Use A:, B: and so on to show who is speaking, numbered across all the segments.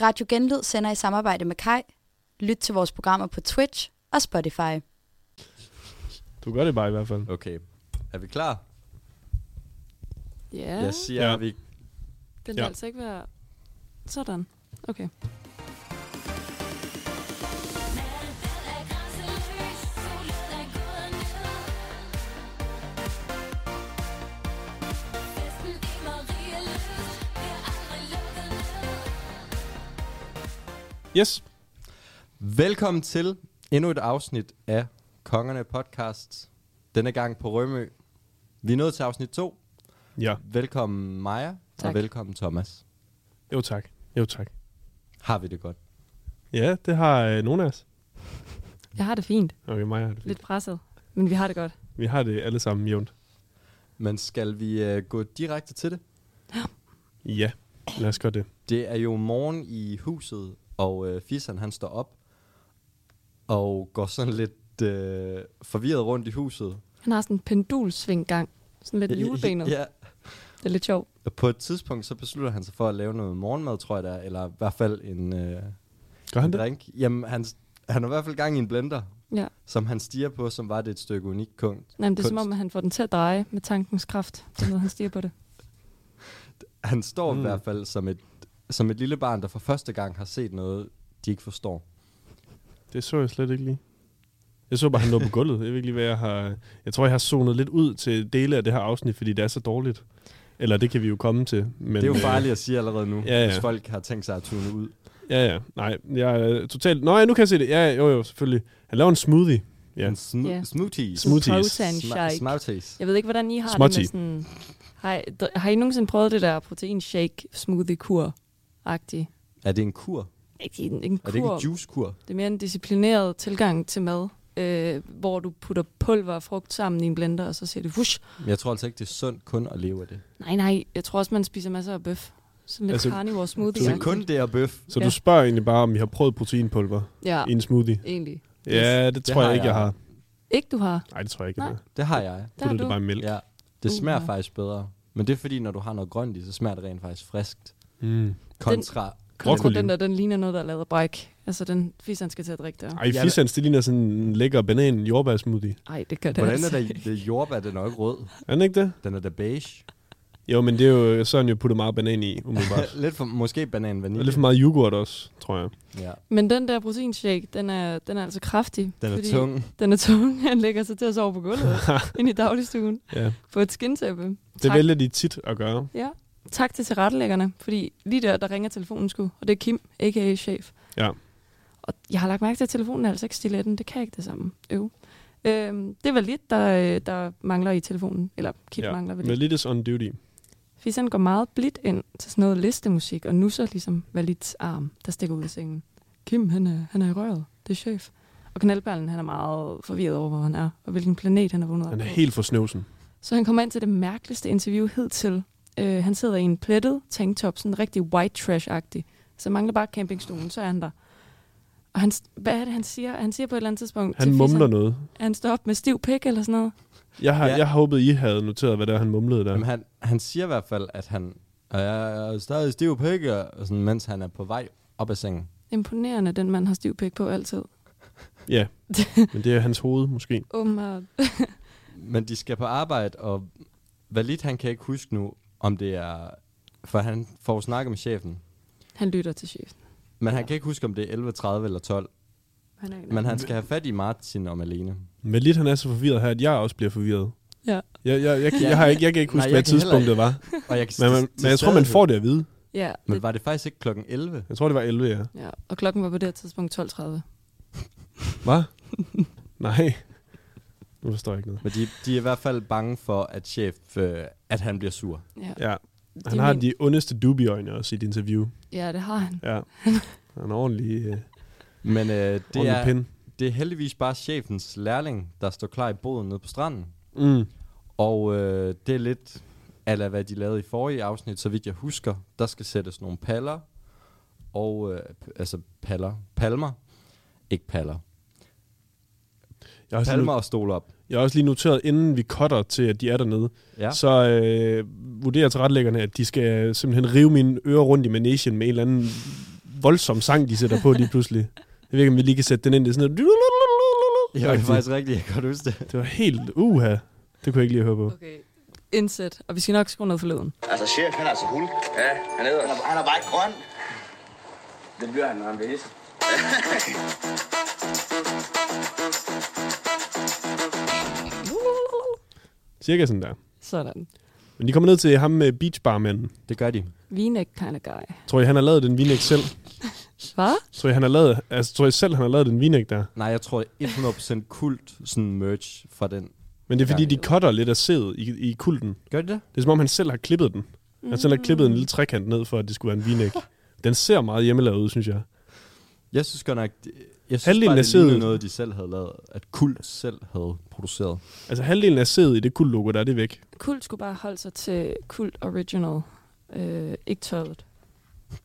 A: Radio Genlyd sender i samarbejde med Kai. Lyt til vores programmer på Twitch og Spotify.
B: Du gør det bare i hvert fald.
C: Okay. Er vi klar?
D: Ja,
C: Ja. Jeg
D: yes.
C: siger,
B: Ja.
C: ja. vi...
D: den vil
B: Ja.
D: altså ikke være... Sådan. Okay.
B: Yes.
C: Velkommen til endnu et afsnit af Kongerne Podcast. Denne gang på Rømø. Vi er nået til afsnit 2.
B: Ja.
C: Velkommen Maja, og
D: Tak.
C: velkommen Thomas.
B: Jo tak. Jo tak.
C: Har vi det godt?
B: Ja, det har øh, nogen af os.
D: Jeg har det fint.
B: Okay, mig har det fint.
D: Lidt presset. Men vi har det godt.
B: Vi har det alle sammen jævnt.
C: Men skal vi øh, gå direkte til det?
B: Ja, lad os gøre det.
C: Det er jo morgen i huset, og øh, Fisan han står op og går sådan lidt øh, forvirret rundt i huset.
D: Han har sådan en pendulsvinggang. Sådan lidt julebenet.
C: Ja,
D: Det er lidt sjovt.
C: og på et tidspunkt så beslutter han sig for at lave noget morgenmad, tror jeg det er, eller i hvert fald en, øh,
B: Gør han
C: en
B: det?
C: drink. Jamen, han, han har i hvert fald gang i en blender,
D: Ja.
C: som han stiger på, som var det et stykke unikt kunst.
D: Nej, men det er som
C: Kunst.
D: om, at han får den til at dreje med tankens kraft. Det er noget, han stiger på det.
C: Han står mm.
B: Mm.
C: i hvert fald som et, som et lille barn, der for første gang har set noget, de ikke forstår.
B: Det så jeg slet ikke lige. Jeg så bare, han lå på gulvet. Jeg ved ikke lige, hvad jeg har... Jeg tror, jeg har zonet lidt ud til dele af det her afsnit, fordi det er så dårligt. Eller det kan vi jo komme til. Men,
C: det er jo
B: øh,
C: farligt at sige allerede nu,
B: Ja, ja.
C: hvis folk har tænkt sig at tune ud.
B: Ja, ja. Nej, jeg er totalt... Nå, ja, nu kan jeg se det. Ja, jo, jo, selvfølgelig. Han laver en smoothie. Ja.
C: En sm-
D: Ja.
C: yeah. smoothie.
B: Smoothies.
D: Protein shake.
C: Smoothies.
D: Jeg ved ikke, hvordan I har
B: Småti.
D: det med sådan... Har I, d- har I nogensinde prøvet det der protein shake smoothie kur agtigt
C: Er det en kur?
D: Ikke en, en kur.
C: Er det ikke en juicekur?
D: Det er mere en disciplineret tilgang til mad, øh, hvor du putter pulver og frugt sammen i en blender, og så siger det vush.
C: Men jeg tror altså ikke, det er sundt kun at leve af det.
D: Nej, nej, jeg tror også, man spiser masser af bøf. Sådan lidt
B: Altså,
D: altså, carnivore
C: Så
D: smoothie.
C: det er kun det og bøf.
B: Så
D: Ja.
B: du spørger egentlig bare, om vi har prøvet proteinpulver
D: Ja,
B: i en smoothie?
D: egentlig.
B: Ja, det tror
C: har
B: jeg ikke, jeg
C: jeg.
B: har.
D: Ikke du har.
B: Nej, det tror jeg ikke, jeg
D: Nej.
B: har.
C: Det har jeg.
D: Der
B: Putter
D: har
B: det
D: du.
B: bare i mælk.
C: Ja. Det smager
D: Uha.
C: faktisk bedre. Men det er fordi, når du har noget grønt i, så smager det rent faktisk friskt.
B: Mm.
C: Kontra...
D: Kontra
B: Broccoli.
D: den der, den ligner noget, der er lavet af bræk. Altså, den fisk, han skal til at drikke der.
B: Ej, fisans, det ligner sådan en lækker banan jordbærsmoothie.
D: Nej, det gør det
C: Hvordan
D: altså.
C: er det, det er jordbær? Den er jo ikke rød.
B: Er den ikke det?
C: Den er da beige.
B: Jo, men det er jo sådan, jeg putter meget banan i, umiddelbart.
C: Lidt for, måske banan vanilje.
B: Og lidt for meget yoghurt også, tror jeg.
C: Ja.
D: Men den der proteinshake, den er, den er altså kraftig.
C: Den er tung.
D: Den er tung. Han lægger sig til at sove på gulvet inde i dagligstuen
B: Ja.
D: på et skintæppe.
B: Det
D: Tak.
B: vælger de tit at gøre.
D: Ja. Tak til tilrettelæggerne, fordi lige der, der ringer telefonen sgu, og det er Kim, a.k.a. chef.
B: Ja.
D: Og jeg har lagt mærke til, at telefonen er altså ikke stiletten. Det kan ikke det samme. Øv. Øhm, det var lidt, der, øh, der mangler i telefonen. Eller Kim
B: ja.
D: ja. mangler vel lidt.
B: Validis on duty.
D: Fordi sådan går meget blidt ind til sådan noget listemusik, og nusser ligesom Valits arm, der stikker ud af sengen. Kim, han er, han er i røret. Det er chef. Og knaldperlen, han er meget forvirret over, hvor han er, og hvilken planet han er vågnet op
B: Han er
D: på.
B: helt for snøvsen.
D: Så han kommer ind til det mærkeligste interview hidtil. Øh, han sidder i en plettet tanktop, sådan rigtig white trash-agtig. Så mangler bare campingstolen, så er han der. Og han, hvad er det, han siger? Han siger på et eller andet tidspunkt,
B: Han
D: til
B: mumler
D: fisseren,
B: noget.
D: at han står op med stiv pik eller sådan noget.
B: Jeg har,
C: Ja.
B: jeg håbede, I havde noteret, hvad det er, han mumlede der.
C: Jamen, han, han siger i hvert fald, at han og jeg er stadig stiv pikke, og sådan, mens han er på vej op ad sengen.
D: Imponerende, den mand har stiv pik på altid.
B: Ja, men det er hans hoved måske.
D: Åbenbart.
C: Men de skal på arbejde, og Valit han kan ikke huske nu, om det er... For han får snakket med chefen.
D: Han lytter til chefen.
C: Men han kan ikke huske, om det er 11.30 eller 12.
D: Han er
C: Men han skal have fat i Martin og Malene.
B: Men lidt han er så forvirret her, at jeg også bliver forvirret.
D: Ja.
B: Jeg, jeg, jeg, kan- jeg, har ikke, jeg kan ikke
C: Nej,
B: huske,
C: jeg
B: hvad
C: kan heller
B: tidspunktet var.
C: Og jeg, kan
B: Men, man, men jeg tror, man får det at vide.
D: Ja,
C: Men
D: det,
C: var det faktisk ikke klokken 11?
B: Jeg tror, det var 11, ja.
D: ja, og klokken var på det her tidspunkt 12.30.
B: Hvad? Nej. Nu forstår jeg ikke noget.
C: Men de, de er i hvert fald bange for, at chef, øh, at han bliver sur.
D: Ja.
B: Ja. Han
D: Det er
B: har
D: min-
B: de ondeste dubieøjne også i et interview.
D: ja, det har han.
B: Ja. Han er en ordentlig, øh,
C: Men øh, det,
B: ordentlig
C: er,
B: pind.
C: det er heldigvis bare chefens lærling, der står klar i båden nede på stranden.
B: Mm.
C: Og øh, det er lidt ala hvad de lavede i forrige afsnit, så vidt jeg husker. Der skal sættes nogle paller, og øh, p- altså paller, palmer, ikke paller.
B: Jeg, har også lige,
C: Palmer
B: no-
C: og stol op.
B: jeg har også lige noteret, inden vi cutter til, at de er dernede,
C: Ja.
B: ja. så øh, vurderer tilrettelæggerne, at de skal simpelthen rive mine ører rundt i manesien med en eller anden voldsom sang, de sætter på lige pludselig. Jeg ved ikke, om vi lige kan sætte den ind. Det er sådan noget...
C: Ja, det er faktisk rigtigt, jeg kan godt huske det.
B: Det var helt uha. Det kunne jeg ikke lige høre på.
D: Okay. Indsæt, og vi skal nok skrue noget forleden.
E: Altså, chef, han er altså hul.
F: Ja, han hedder.
E: Han er, han er bare ikke grøn.
F: Det bliver han, når han bliver hisse.
B: Cirka sådan der.
D: Sådan.
B: Men de kommer ned til ham med beachbarmanden.
C: Det gør de.
D: V-neck kind of guy.
B: Tror I, han har lavet den vinæk selv?
D: Hvad?
B: Tror I, han har lavet, altså, tror I selv, han har lavet den vinæk der?
C: Nej, jeg tror 100% kult sådan merch fra den.
B: Men det er fordi,
C: Ja.
B: de cutter lidt af sædet i, i kulten.
C: Gør de det?
B: Det er som om, han selv har klippet den. Han selv har klippet en lille trekant ned, for at det skulle være en vinæk. Den ser meget hjemmelavet ud, synes jeg.
C: Jeg synes godt nok, det- jeg synes
B: Halvdelen
C: bare,
B: af
C: det
B: sædet-
C: lignede noget, de selv havde lavet, at kult selv havde produceret.
B: Altså halvdelen af sædet i det kultlogo, der er det væk.
D: Kult skulle bare holde sig til Kult Original. Øh, ikke tollet.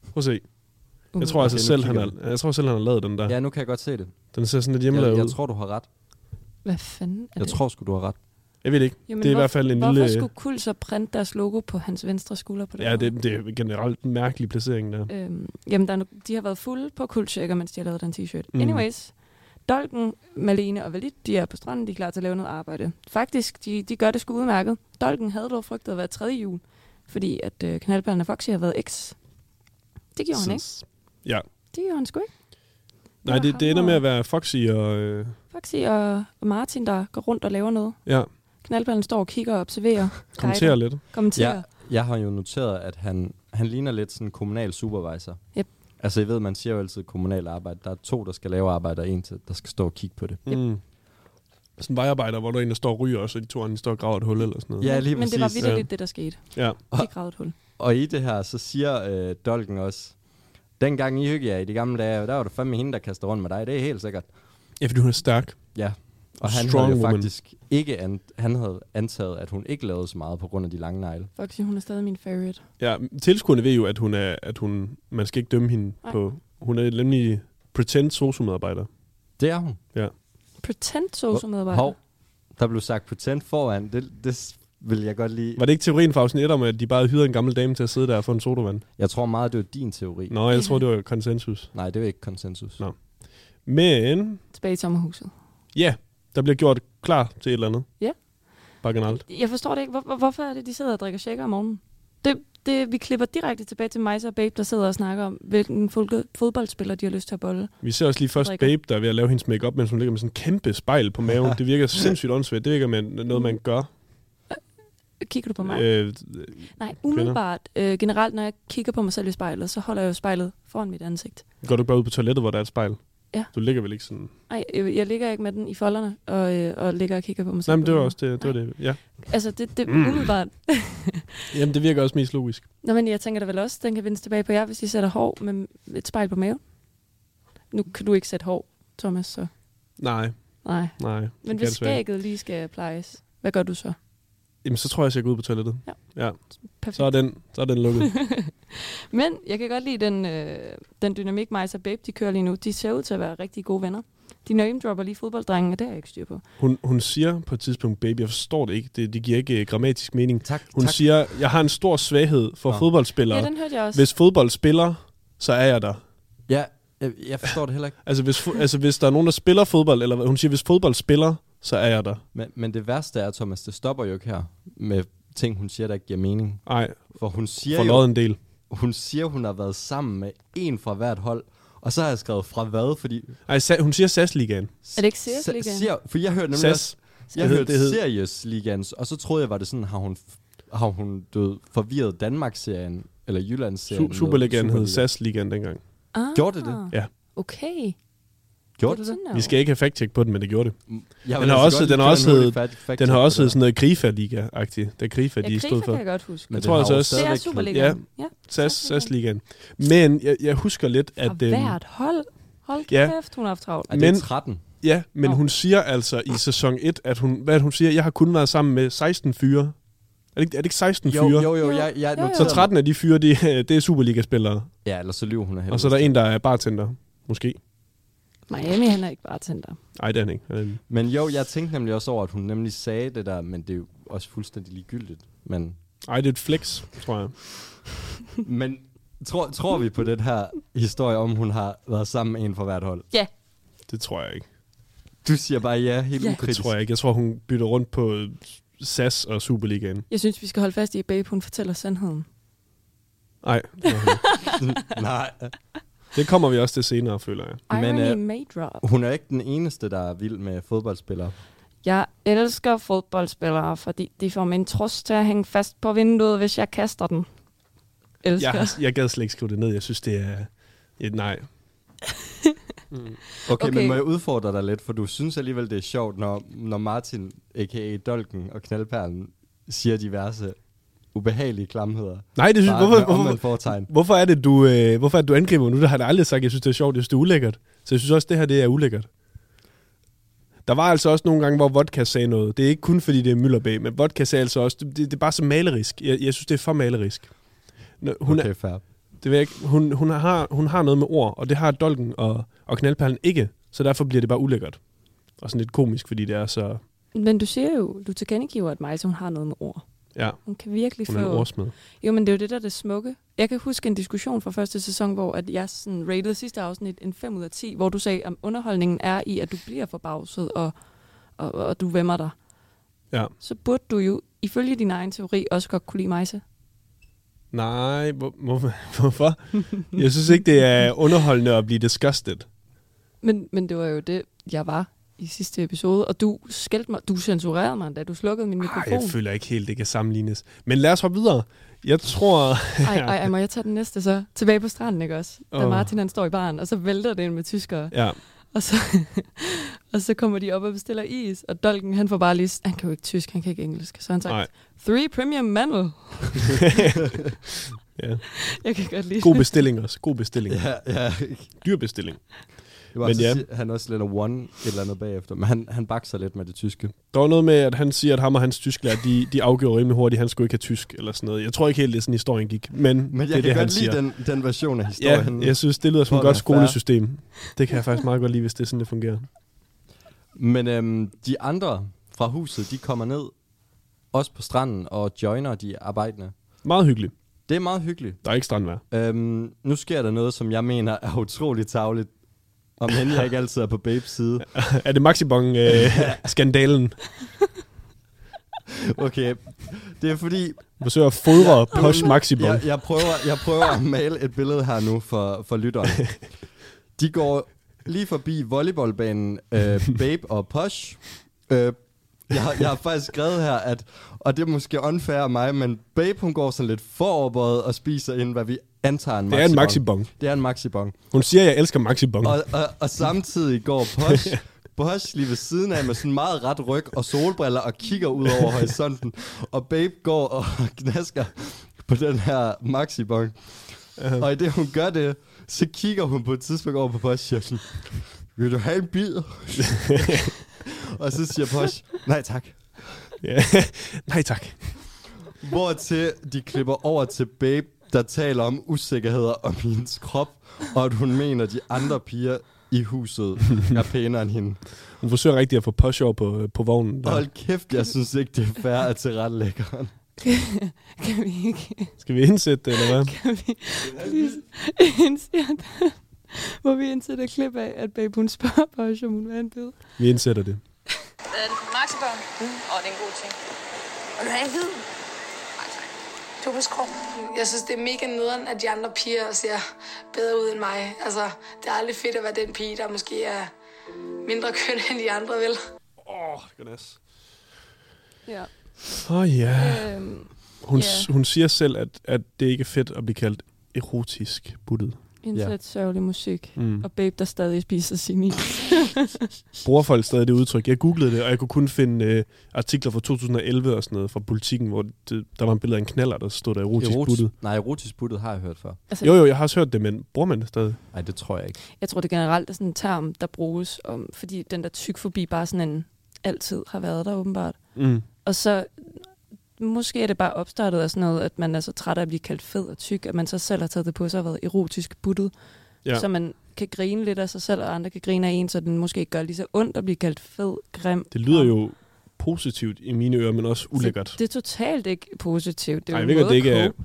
B: Prøv at se.
C: Mm.
B: Jeg tror
D: Umiddelbart.
B: altså
C: nu
B: selv, han
C: kigger
B: har, jeg tror selv, han har lavet den der.
C: Ja, nu kan jeg godt se det.
B: Den ser sådan lidt
C: Jeg,
B: hjemmelavet
C: jeg
B: ud.
C: tror, du har ret.
D: Hvad fanden er
C: Jeg
D: det?
C: tror sgu, du har ret.
B: Jeg ved det ikke.
D: Jamen,
B: det er i
D: hvor-
B: hvert fald en
D: Hvorfor
B: lille...
D: skulle Kult så printe deres logo på hans venstre skulder på det?
B: Ja, det, det er generelt en mærkelig placering der.
D: Øhm, jamen, der er, no- de har været fulde på kultsjekker, mens de har lavet den t-shirt.
B: Mm.
D: Mm. Anyways, Dolken, Malene og Valit, de er på stranden, de er klar til at lave noget arbejde. Faktisk, de, de gør det sgu udmærket. Dolken havde dog frygtet at være tredje jul, fordi at øh, knaldperlen og Foxy har været X. Det gjorde han ikke.
B: Sinds- Ja.
D: Det gjorde han sgu ikke.
B: Nej,
D: var
B: det,
D: ham
B: det ender
D: og-
B: med at være Foxy og... Øh,
D: Foxy og, og Martin, der går rundt og laver noget.
B: ja,
D: Knaldperlen står og kigger og observerer.
B: kommenterer lidt.
D: Kommenterer. Ja.
C: Jeg, jeg har jo noteret, at han, han ligner lidt sådan en kommunal supervisor.
D: Yep.
C: Altså, jeg ved, man siger jo altid kommunal arbejde. Der er to, der skal lave arbejde, og en, til, der skal stå og kigge på det.
B: Mm. Sådan en vejarbejder, hvor der er en, der står og ryger, og så de to andre de står og graver et hul eller sådan noget.
C: Ja, lige
D: Men
C: præcis.
D: det var vidderligt det, der skete.
B: Ja.
D: De gravede et hul.
C: Og i det her, så siger øh, Dolken også, dengang I hyggede jer i de gamle dage, der var det fandme hende, der kastede rundt med dig. Det er helt sikkert.
B: ja fordi hun er stærk.
C: Ja. Og han
B: Strong
C: Strong havde jo
B: woman.
C: faktisk ikke an, han havde antaget, at hun ikke lavede så meget på grund af de lange negle.
D: Foxy, hun er stadig min favorite.
B: Ja, tilskuerne ved jo, at hun er, at hun, man skal ikke dømme hende
D: Nej.
B: på... Hun er nemlig pretend sociomedarbejder.
C: Det er hun.
D: Pretend sosomedarbejder.
C: Hov, der blev sagt pretend foran. Det, det s- vil jeg godt lide.
B: Var det ikke teorien fra afsnit 1 om, at de bare hyrede en gammel dame til at sidde der og få en sodavand?
C: Jeg tror meget, det var din teori.
B: Nå, jeg tror, det var konsensus.
C: Nej, det var ikke konsensus.
B: Nå. Men,
D: Tilbage i sommerhuset.
B: ja, der bliver gjort klar til et eller andet.
D: Ja.
B: Bare generelt.
D: Jeg forstår det ikke. Hvor, hvor, hvorfor er det, de sidder og drikker shaker om morgenen? Det, det, vi klipper direkte tilbage til Majsa og Babe, der sidder og snakker om, hvilken folke- fodboldspiller, de har lyst til at bolle.
B: Vi ser også lige først
D: Drikker.
B: Babe, der er ved at lave hendes makeup, mens hun ligger med sådan en kæmpe spejl på maven. Det virker sindssygt åndssvagt. Det virker man, noget, man gør.
D: Kigger du på mig? Øh,
B: Øh,
D: Nej, umiddelbart. Øh, generelt, når jeg kigger på mig selv i spejlet, så holder jeg jo spejlet foran mit ansigt.
B: går du ikke bare ud på toilettet, hvor der er et spejl?
D: Ja.
B: Du ligger vel ikke sådan...
D: Nej, øh, jeg, jeg ligger ikke med den i folderne, og, øh, og ligger og kigger på mig selv.
B: Nej, men det var
D: på
B: også det. det, var det. Ja.
D: den. Altså, det, det mm. umiddelbart.
B: Jamen, det virker også mest logisk.
D: Nå, men jeg tænker da vel også, den kan vende tilbage på jer, hvis I sætter hår med et spejl på maven. Nu kan du ikke sætte hår, Thomas, så
B: Nej,
D: nej.
B: nej. det kan
D: Men hvis
B: jeg desværre ikke.
D: skægget lige skal plejes, hvad gør du så?
B: Jamen, så tror jeg, at jeg går ud på toilettet.
D: Ja.
B: ja.
D: Perfekt.
B: Så er den, så er den lukket.
D: Men jeg kan godt lide den, øh, den dynamik, Majs og Babe, de kører lige nu. De ser ud til at være rigtig gode venner. De name-dropper lige fodbolddrengen, og det har jeg ikke styr på.
B: Hun, hun siger på et tidspunkt, baby, jeg forstår det ikke. Det, det giver ikke uh, grammatisk mening.
C: Tak,
B: Hun
C: tak.
B: siger, jeg har en stor svaghed for
C: Nå.
B: fodboldspillere.
D: Ja, den hørte jeg også.
B: Hvis fodbold spiller, så er jeg der.
C: Ja, jeg, jeg forstår det heller ikke.
B: Altså hvis, fo- altså, hvis der er nogen, der spiller fodbold, eller hvad- hun siger, hvis fodbold spiller, så er jeg der.
C: Men, men det værste er, Thomas, det stopper jo ikke her med ting, hun siger, der ikke giver mening.
B: Ej,
C: For hun siger
B: for
C: jo,
B: noget en del.
C: hun siger, hun har været sammen med en fra hvert hold. Og så har jeg skrevet fra hvad, fordi...
B: Ej, sa- hun siger SAS-ligaen.
D: Er det ikke Sirius
C: Sa-
D: Ligaen?
C: siger- For jeg hørte nemlig også,
B: SAS.
C: jeg
B: hed-
C: hørte
B: det hed-
C: Sirius Ligans, og så troede jeg, var det sådan, har hun, har hun du ved, forvirret Danmarks-serien, eller Jyllands-serien?
B: Su- Superligaen hed SAS-ligaen dengang.
D: ah,
C: Gjorde det det?
B: Ja.
D: Okay.
C: Gjorde det det?
B: Vi skal ikke have fact-check på den, men det gjorde det.
C: Jeg
B: Den har også- den har også hed-
C: hed,
B: Den har også hed sådan noget Grifa-liga-agtigt, da Grifa
D: Ja,
B: de
D: Grifa
B: stod
D: kan
B: for.
D: jeg godt huske.
B: Jeg tror altså også-
D: det er Superligaen. Ja. ja.
B: SAS,
D: SAS-ligaen.
B: SAS-ligaen. Men jeg, jeg husker lidt, at...
D: Fra
B: øhm,
D: hvert hold. Hold
B: ja.
D: ja. kæft, hun har haft travlt.
C: Er det
B: Men-
C: er 13?
B: Ja, men
D: Nå.
B: hun siger altså i sæson 1, at hun, hvad er det, hun siger, jeg har kun været sammen med 16 fyre. Er det, ikke- er det ikke 16
C: Jo,
B: fyre?
C: jo, jo,
D: Jo,
C: jeg, jeg
D: jo,
C: noterede
B: Så
C: mig.
B: 13 af de fyre, de, det er Superliga-spillere.
C: Ja, eller så lyver hun af helvede.
B: Og så er der en, der er bartender. Måske.
D: Miami, han er ikke bare tænder.
B: Ej, det er han ikke. Han er en-
C: Men jo, jeg tænkte nemlig også over, at hun nemlig sagde det der, men det er jo også fuldstændig ligegyldigt. Men,
B: Ej, det er et flex, tror jeg.
C: men tror, tror vi på den her historie om, hun har været sammen med en fra hvert hold.
D: Ja,
B: Det tror jeg ikke.
C: Du siger bare ja, helt
D: Ja.
C: ja.
D: Det
B: Det
C: ukritisk.
B: tror jeg ikke. Jeg tror, hun bytter rundt på øh, SAS og Superligaen.
D: jeg synes, vi skal holde fast i, at Babe, hun fortæller sandheden.
B: Nej,
C: Nej.
B: det kommer vi også til senere, føler jeg.
C: Men,
D: Irony
C: øh,
D: may drop.
C: Hun er ikke den eneste, der er vild med fodboldspillere.
D: Jeg elsker fodboldspillere, fordi de får min trus til at hænge fast på vinduet, hvis jeg kaster den. Elsker.
B: Jeg, har- jeg gad slet ikke skrive det ned. Jeg synes, det er... Ja, nej.
C: Okay, okay,
D: Okay.
C: men må jeg udfordre dig lidt, for du synes alligevel, det er sjovt, når, når Martin, a.k.a. Dolken og Knaldperlen, siger diverse ubehagelige klamheder.
B: Nej, det synes,
C: Bare med
B: hvorfor,
C: omvendt
B: hvorfor,
C: foretegn.
B: hvorfor, er det, du, øh, hvorfor er det, du angriber mig nu? Det har jeg da aldrig sagt, jeg synes, det er sjovt, jeg synes, det er ulækkert. Så jeg synes også, det her det er ulækkert. Der var altså også nogle gange, hvor vodka sagde noget. Det er ikke kun, fordi det er Møllerbæg, men vodka sagde altså også... Det, det, det er bare så malerisk. Jeg, jeg synes, det er for malerisk. Nå, Hun,
C: Okay, fair.
B: Det ved jeg ikke. Hun, hun, har, hun har noget med ord, og det har dolken og, og knaldperlen ikke, så derfor bliver det bare ulækkert. Og sådan lidt komisk, fordi det er så...
D: Men du siger jo, du tilkendegiver, at Maja, hun har noget med ord.
B: Ja,
D: Hun kan virkelig
B: hun
D: få...
B: er en ordsmed.
D: Jo, men det er jo det, der er det smukke. Jeg kan huske en diskussion fra første sæson, hvor at jeg sådan rated sidste afsnit en 5 ud af 10, hvor du sagde, at underholdningen er i, at du bliver forbavset, og, og, og du vemmer dig.
B: Ja.
D: Så burde du jo, ifølge din egen teori, også godt kunne lide Majse.
B: Nej, hvor, hvor, hvorfor? Jeg synes ikke, det er underholdende at blive disgusted.
D: Men, men det var jo det, jeg var i sidste episode, og du skældte mig, du censurerede mig endda, du slukkede min
B: Ej,
D: mikrofon.
B: jeg føler ikke helt, det kan sammenlignes. Men lad os hoppe videre. Jeg tror...
D: Ej, ej, ej, må jeg tage den næste så? Tilbage på stranden, ikke også? Da
B: Åh.
D: oh. Martin han står i baren, og så vælter det ind med tyskere.
B: Ja,
D: Og så, og så kommer de op og bestiller is, og Dolken han får bare lige... Han kan jo ikke tysk, han kan ikke engelsk. Så han sagt,
B: nej.
D: three premium mandel.
B: Ja.
D: Jeg kan godt lide
B: God bestilling også. God bestilling.
C: Ja, ja.
B: Dyr bestilling.
C: Det var,
B: Men
C: men
B: ja.
C: ja. Han også lidt one et eller andet bagefter, men han, han bakser lidt med det tyske.
B: Der var noget med, at han siger, at ham og hans tysklærer, de, de afgjorde rimelig hurtigt, han skulle ikke have tysk eller sådan noget. Jeg tror ikke helt, det er sådan, historien gik, men,
C: Men jeg
B: det er
C: kan
B: det, han
C: godt lide
B: siger.
C: den, den version af
B: Ja,
C: historien.
B: jeg synes, det lyder som et
C: Hvor er
B: godt
C: det fair?
B: skolesystem. Det kan jeg faktisk meget godt lide, hvis det er sådan, det fungerer.
C: Men øhm, de andre fra huset, de kommer ned, også på stranden, og joiner de arbejdende.
B: Meget hyggeligt.
C: Det er meget hyggeligt.
B: Der er ikke strandvær.
C: Øhm, nu sker der noget, som jeg mener er utroligt tavligt. Om end jeg ikke altid er på babes side.
B: er det øh, Maxibong-skandalen?
C: Okay, det er fordi...
B: Forsøger at fodre posh Maxibong.
C: Jeg, jeg, prøver, jeg prøver at male et billede her nu for, for lytterne. De går lige forbi volleyballbanen øh, Babe og Posh. Øh, jeg, har- jeg har faktisk skrevet her, at, og det er måske unfair af mig, men Babe hun går sådan lidt foroverbøjet og spiser ind, hvad vi antager en
B: Det er en
C: maxibong.
B: Maxibong.
C: Det er en maxibong.
B: Hun siger, at jeg elsker Maxibong.
C: Og, og, og samtidig går Posh, Posh lige ved siden af med sådan meget ret ryg og solbriller og kigger ud over horisonten. Og Babe går og knasker på den her maxibong. Og i det hun gør det, så kigger hun på et tidspunkt over på Posh og siger sådan, vil du have en bid? og så siger Posh, nej tak.
B: Ja. Nej tak.
C: Hvortil de klipper over til Babe, der taler om usikkerheder om hendes krop, og at hun mener, de andre piger i huset er pænere end hende.
B: Hun forsøger rigtig at få posh over på, på vognen. Der.
C: Hold kæft, jeg synes ikke, det er fair at tilrettelæggeren.
D: Kan vi ikke
B: Skal vi indsætte det, eller hvad?
D: please indsætte hvor vi indsætter et klip af, at babe hun spørger på os, om hun vil have en bid.
B: Vi indsætter det.
G: Øh, Maxibørn. Åh, det er en god ting.
H: Vil du have en hvid? Du er på skrå. Jeg synes, det er mega nederen, at de andre piger ser bedre ud end mig. Altså, det er aldrig fedt at være den pige, der måske er mindre køn end de andre, vel?
B: Åh, det
D: Ja.
B: Åh oh, ja.
D: Øhm,
B: Hun,
D: Ja.
B: hun siger selv, at, at det ikke er fedt at blive kaldt erotisk buttet.
D: indsæt
C: Ja.
D: yeah. sørgelig musik.
B: Mm.
D: Og babe, der stadig spiser sin is.
B: bruger folk stadig det udtryk. Jeg googlede det, og jeg kunne kun finde øh, artikler fra 2011 og sådan noget fra politikken, hvor det, der var en billede af en knaller, der stod der erotisk, erotisk. buttet.
C: nej, erotisk buttet har jeg hørt før.
D: Altså,
B: Jo, jo, jeg har også hørt det, men bruger man det stadig?
C: Nej, det tror jeg ikke.
D: Jeg tror, det generelt er sådan en term, der bruges, om, fordi den der tyk forbi bare sådan en altid har været der åbenbart.
B: Mm.
D: Og så måske er det bare opstartet af sådan noget, at man er så træt af at blive kaldt fed og tyk, at man så selv har taget det på sig og været erotisk buttet.
B: Ja.
D: Ja. Så man kan grine lidt af sig selv, og andre kan grine af en, så den måske ikke gør lige så ondt at blive kaldt fed, grim.
B: Det lyder jo positivt i mine ører, men også ulækkert.
D: Så det er totalt ikke positivt. Det er
B: Ej,
D: jo
B: jeg
D: en
B: ved godt,
D: måde
B: det ikke
D: at
B: er,
D: cope.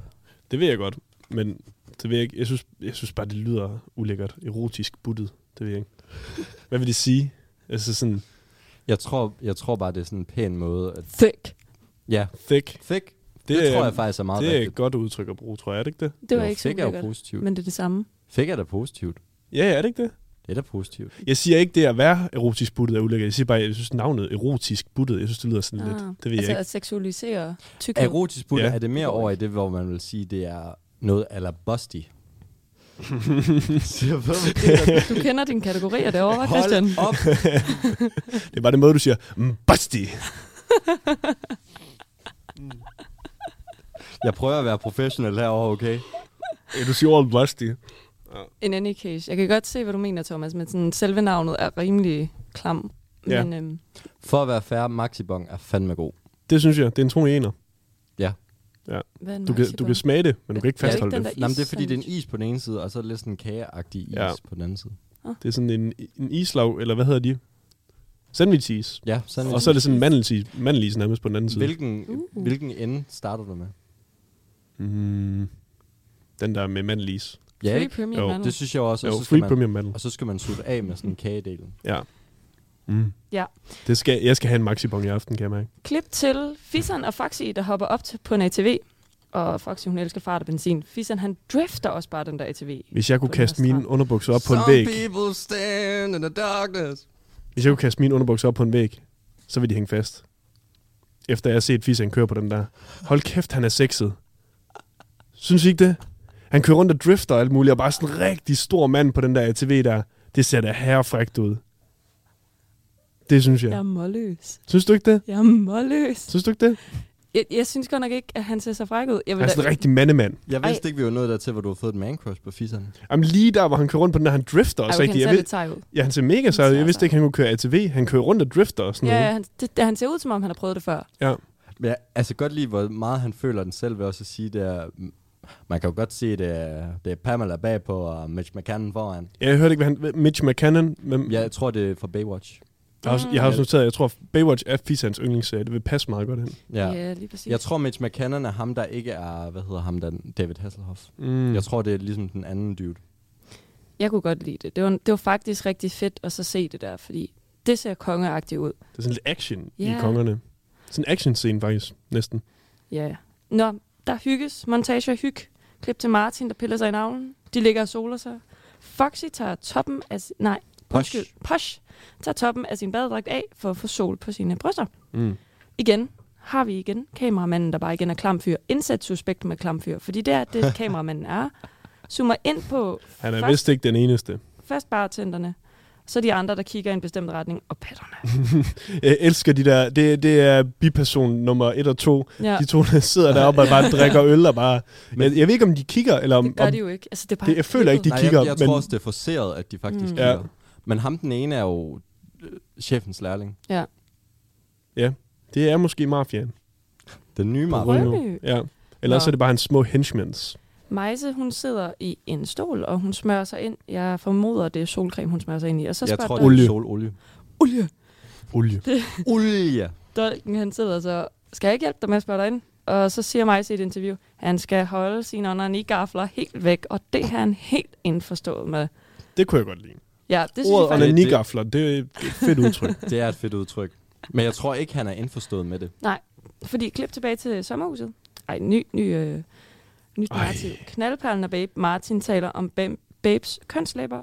B: Det ved jeg godt, men Det ved jeg ikke. Jeg synes, jeg synes bare, det lyder ulækkert. Erotisk buttet. Det ved jeg ikke. Hvad vil det sige? Altså sådan
C: Jeg tror, jeg tror bare, det er sådan en pæn måde. At,
D: Thick.
C: ja,
B: thick.
C: fik. Det,
B: Det
C: det
B: er-
C: tror jeg faktisk er meget
B: det er et
C: rigtigt.
B: godt udtryk at bruge, tror jeg. Er det ikke det?
D: Det var
C: Jo,
D: ikke så
C: fik er jo
D: ulækkert.
C: positivt.
D: Men det er det samme.
C: Fik er da positivt.
B: Ja, ja, er det ikke det?
C: Det er da positivt.
B: Jeg siger ikke, det at være erotisk buttet er ulækkert. Jeg siger bare, jeg synes navnet erotisk buttet, jeg synes, det lyder sådan ah, lidt. Det ved
D: altså
B: jeg ikke.
D: at seksualisere tykkhed.
C: Erotisk butter,
B: Ja.
C: ja. er det mere over i det, hvor man vil sige, det er noget eller busty? Siger Peter.
D: Du kender dine kategorier derovre, Christian.
C: Hold op.
B: Det er bare den måde, du siger, mm, busty.
C: Jeg prøver at være professionel herovre, okay?
B: Ja, du siger all busty.
D: In any case. Jeg kan godt se, hvad du mener, Thomas, men sådan, selve navnet er rimelig klam.
B: Ja.
D: Men øhm,
C: For at være fair, Maxibong er fandme god.
B: Det synes jeg, det er en to ener.
C: Ja.
D: hvad er en
B: Du kan, du
D: marzipan?
B: kan smage det, men du kan ikke
D: Ja, det er
B: fastholde
D: ikke den
B: det.
D: der- is
C: Jamen, det er fordi, det er en
D: sandwich.
C: is på den ene side, og så er det lidt sådan en kageagtig is
B: Ja.
C: ja. på den anden side.
B: Det er sådan en, en islag, eller hvad hedder de? Sandwiches.
C: Ja, sådan
B: Og så er det sådan en mandelis, mandelis nærmest på den anden side.
C: Hvilken, uh. hvilken ende starter du med?
B: Mm, den der med mandelis.
C: Ja,
D: Free
C: ikke?
D: Premium
B: Jo,
D: Mandel.
C: det synes jeg også.
B: Jo,
C: Og så skal
B: free
C: man,
B: premium mandel.
C: og så skal man sutte af med sådan en kagedelen.
B: Ja. Mm.
D: Ja.
B: Det skal, jeg skal have en maxibong i aften, kan jeg mærke.
D: Klip til Fisan og Foxy, der hopper op til, på en ATV. Og Foxy, hun elsker fart og benzin. Fisan, han drifter også bare den der ATV.
B: Hvis jeg kunne
D: På den her
B: kaste mine
D: strand.
B: underbukser op på en væg,
C: people stand in the darkness.
B: hvis jeg kunne kaste mine underbukser op på en væg, så ville de hænge fast. Efter jeg har set Fisan køre på den der. Hold kæft, han er sexet. Synes I ikke det? Han kører rundt og drifter og alt muligt, og bare sådan en rigtig stor mand på den der ATV der. Det ser da herrefrægt ud. Det synes
D: Jeg er
B: jeg.
D: målløs.
B: Synes du ikke det?
D: Jeg er målløs.
B: Synes du ikke det?
D: Jeg, jeg synes godt nok ikke, at han ser så fræk ud. Jeg
B: Han er sådan
D: da-
B: en rigtig mandemand.
C: Jeg
D: Ej.
C: vidste ikke, vi var nået dertil, hvor du har fået et man crush på fisserne.
B: Jamen lige der, hvor han kører rundt på den der, han drifter
D: Ej,
B: også
D: okay, han
B: rigtig.
D: ser
B: Jeg ved,
D: lidt sej ud.
B: ja, han ser mega sej ud.
D: ser
B: Jeg vidste
D: sej
B: ikke, han kunne køre ATV. Han kører rundt og drifter og sådan
D: Ja,
B: noget.
D: ja han, det, det, han ser ud, som om han har prøvet det før.
B: ja.
C: Men jeg altså godt lide, hvor meget han føler den selv ved også at sige, det er, man kan jo godt se, det er, det er Pamela bagpå og Mitch McCann foran.
B: Jeg hørte ikke, hvad han... Mitch McCannon. Hvem?
C: Jeg tror, det er fra Baywatch.
B: Jeg har, også, jeg har
D: Mm.
B: også noteret, at jeg tror, Baywatch er Fisans yndlingsserie. Det vil passe meget godt hen.
C: Ja.
D: ja lige præcis.
C: Jeg tror, Mitch McCann er ham, der ikke er, hvad hedder ham, der, David Hasselhoff.
B: Mm.
C: Jeg tror, det er ligesom den anden dude.
D: Jeg kunne godt lide det. Det var, det var faktisk rigtig fedt at så se det der, fordi det ser kongeagtigt ud.
B: Det er sådan lidt action yeah. i
D: Ja.
B: kongerne. Sådan en action-scene faktisk, næsten.
D: Ja, ja. Nå, der hygges. Montage og hyg. Klip til Martin, der piller sig i navlen. De ligger og soler sig. Foxy tager toppen af... si- Nej,
C: Posh.
D: undskyld. Posh tager toppen af sin badedragt af for at få sol på sine bryster.
B: Mm.
D: Igen har vi igen kameramanden, der bare igen er klamfyr. Indsæt suspekt med klamfyr, fordi det er det, kameramanden er. Zoomer ind på
B: Han er
D: først-
B: vist ikke den eneste.
D: først bartenderne, så de andre, der kigger i en bestemt retning, og patterne.
B: Jeg elsker de der... Det, det er biperson nummer et og to.
D: Ja,
B: De to, der sidder deroppe og bare drikker øl og bare... Jeg, jeg ved ikke, om de kigger, eller om...
D: det gør
B: om
D: de jo ikke. Altså, det er bare
B: Det- jeg føler ikke, de-
D: klippet.
C: Nej,
B: kigger,
C: jeg, jeg
B: men-
C: tror også, det er forceret, at de faktisk
D: Mm.
C: mm.
B: Ja.
C: kigger. Men ham, den ene, er jo øh, chefens lærling.
D: Ja.
B: Ja, det er måske mafiaen.
C: Den nye
B: på
C: map.
D: Rønø.
B: Rønø. Ja. Eller også
D: Nå.
B: er det bare hans små henchmans.
D: Majse, hun sidder i en stol, og hun smører sig ind. Jeg formoder, det er solcreme, hun smører sig ind i. Og så
C: Jeg
D: spørger
C: tror,
D: Dolk-
C: det
B: Olie.
C: er sololie.
D: olie.
B: Olie.
C: Olie!
D: Dolken, han sidder så, skal jeg ikke hjælpe dig med at spørge dig ind? Og så siger Majse i et interview, han skal holde sine onanigafler helt væk, og det er han helt indforstået med.
B: Det kunne jeg godt lide.
D: Ja, det synes jeg
B: Ordet
D: faktisk.
B: onanigafler, det er et fedt udtryk.
C: Det er et fedt udtryk. Men jeg tror ikke, han er indforstået med det.
D: Nej, fordi klip tilbage til sommerhuset. Ej, ny, ny, øh, nyt
B: Ej.
D: narrativ. Knaldperlen og Babe Martin taler om Bam- Babes kønslæber.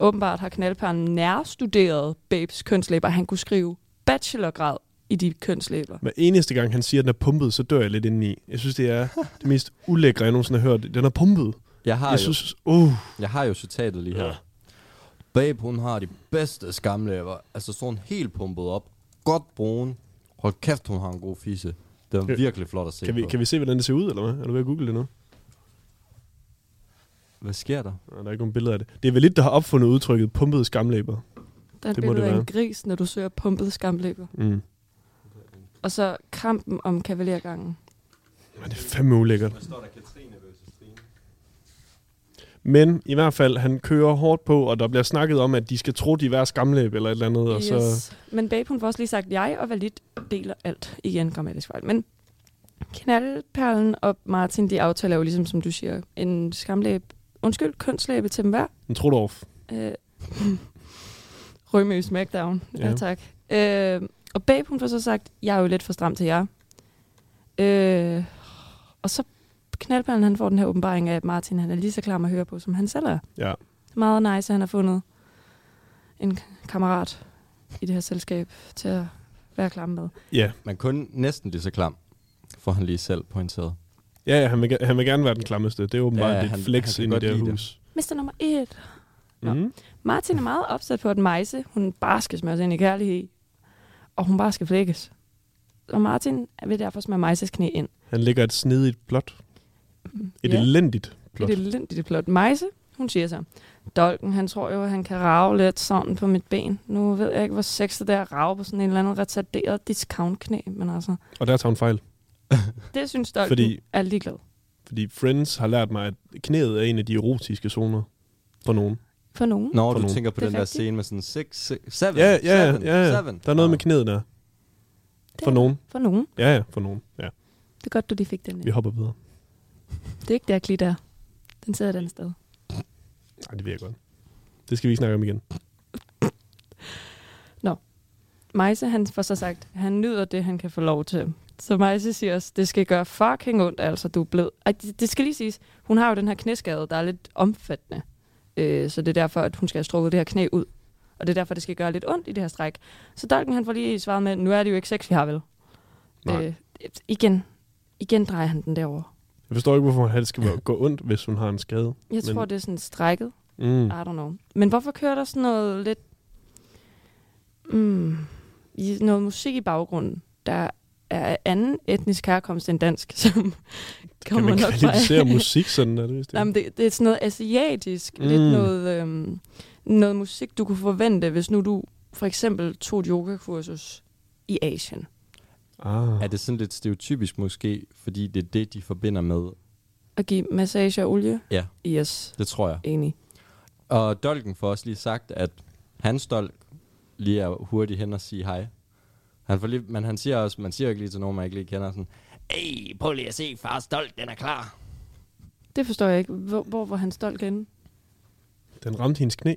D: Åbenbart har knaldperlen nærstuderet Babes kønslæber. Han kunne skrive bachelorgrad i de kønslæber.
B: Hver eneste gang, han siger, at den er pumpet, så dør jeg lidt indeni. Jeg synes, det er det mest ulækre, jeg nogensinde har hørt. Den er pumpet.
C: Jeg har,
B: Jeg
C: jo,
B: synes, uh,
C: jeg har jo citatet lige her.
B: Ja.
C: Ja. Babe, hun har de bedste skamlæber. Altså sådan helt pumpet op. Godt brun. Hold kæft, hun har en god fisse. Det
B: Kan-
C: er virkelig flot at se
B: kan vi,
C: på.
B: kan vi se, hvordan det ser ud, eller hvad? Er du ved at google det nu?
C: Hvad sker der?
B: Nej, der er ikke nogen billeder af det. Det er vel lidt, der har opfundet udtrykket pumpede skamlæber.
D: Der er
B: Det
D: det
B: må det
D: billede af
B: være.
D: en gris, når du søger pumpet skamlæber.
B: Mm.
D: Og så krampen om kavalergangen.
B: Men det er fandme ulækkert.
C: Hvad står der? Katrine versus Trine.
B: Men i hvert fald, han kører hårdt på, og der bliver snakket om, at de skal tro, de er hver skamlæb eller et eller andet. Og så,
D: Men Babe, hun får også lige sagt, jeg og Valit deler alt. Igen grammatisk fejl. Men Knaldperlen og Martin, de aftaler jo ligesom, som du siger, en skamlæb. Undskyld, kønslæbe til dem hver.
B: En trudorf.
D: Øh, Rømø Smackdown. Ja,
B: Ja.
D: ja tak. Øh, og Babe, hun får så sagt, jeg er jo lidt for stram til jer. Øh, og så knaldperlen, han får den her åbenbaring af, at Martin han er lige så klar med at høre på, som han selv er.
B: Ja.
D: Meget nice, at han har fundet en kammerat i det her selskab til at være klar med.
B: Ja,
C: Men kun næsten lige så klam, får han lige selv pointeret.
B: ja, ja han, vil, ge- han vil gerne være den klammeste. Det er åbenbart
C: Ja,
B: ja, lidt
C: han- han
B: flex
C: kan
B: ind i
C: godt
B: det her
C: lide det.
B: hus.
D: Mister nummer et. Nå.
B: Mm.
D: Martin er meget opsat på, at Majse, hun bare skal smøre sig ind i kærlighed, og hun bare skal flækkes. Og Martin vil derfor smøre Majses knæ ind.
B: Han lægger et snedigt plot. Et
D: Mm. Ja.
B: elendigt plot.
D: Det er elendigt plot. Majse, hun siger så, Dolken, han tror jo, at han kan rave lidt sådan på mit ben. Nu ved jeg ikke, hvor sexet det er at rave på sådan en eller anden retarderet discount-knæ, men altså,
B: Og der tager han fejl.
D: det synes Dolken
B: Fordi-
D: Fordi... er ligeglad.
B: Fordi Friends har lært mig, at knæet er en af de erotiske zoner for nogen.
D: For nogen.
C: Når
B: For
C: du
B: nogen.
C: tænker på
D: Det er
C: den der
D: rigtigt.
C: scene med sådan 6, 7,
B: Ja, ja, ja.
C: seven,
B: ja.
C: seven.
B: Der er noget
C: Nå.
B: med knæet der.
D: Det
B: For
D: er-
B: nogen.
D: For nogen.
B: Ja, ja, for nogen. Ja,
D: Det er godt, du lige fik den.
B: vi hopper videre.
D: Det er ikke der, klit er. Den sidder et andet sted.
B: Nej, det virker godt. Det skal vi ikke snakke om igen.
D: Majse, han får så sagt, han nyder det, han kan få lov til. Så Majse siger også, det skal gøre fucking ondt, altså du er blød. Ej, det, det skal lige siges, hun har jo den her knæskade, der er lidt omfattende. Øh, så det er derfor, at hun skal have strukket det her knæ ud. Og det er derfor, det skal gøre lidt ondt i det her stræk. Så Dolken, han får lige svaret med, nu er det jo ikke sex, vi har vel?
B: Nej.
D: Øh, igen, igen drejer han den derover.
B: Jeg forstår ikke, hvorfor han skal gå ondt, hvis hun har en skade.
D: Jeg
B: Men-
D: tror, det er sådan strækket.
B: Mm.
D: I don't know. Men hvorfor kører der sådan noget lidt... Mm, i- noget musik i baggrunden, der er af anden etnisk herkomst end dansk, som
B: Kan
D: kommer
B: man
D: nok fra...
B: kvalificere musik sådan? Er det, vist det?
D: Jamen, det, det er sådan noget asiatisk, mm.
B: Mm.
D: lidt noget, øhm, noget musik, du kunne forvente, hvis nu du for eksempel tog et yogakursus i Asien.
B: ah.
C: Er det sådan lidt stereotypisk måske, fordi det er det, de forbinder med?
D: Og give massage og olie?
C: Ja.
D: Yes,
C: Det tror jeg.
D: enig.
C: Og Dolken får også lige sagt, at hans Dolk lige er hurtig hen og sige hej. Han får lige, men han siger også, man siger jo ikke lige til nogen, man ikke lige kender sådan, Ej, prøv lige at se, fars Dolk, den er klar.
D: Det forstår jeg ikke. Hvor, hvor var han stolt henne?
B: Den ramte hendes knæ.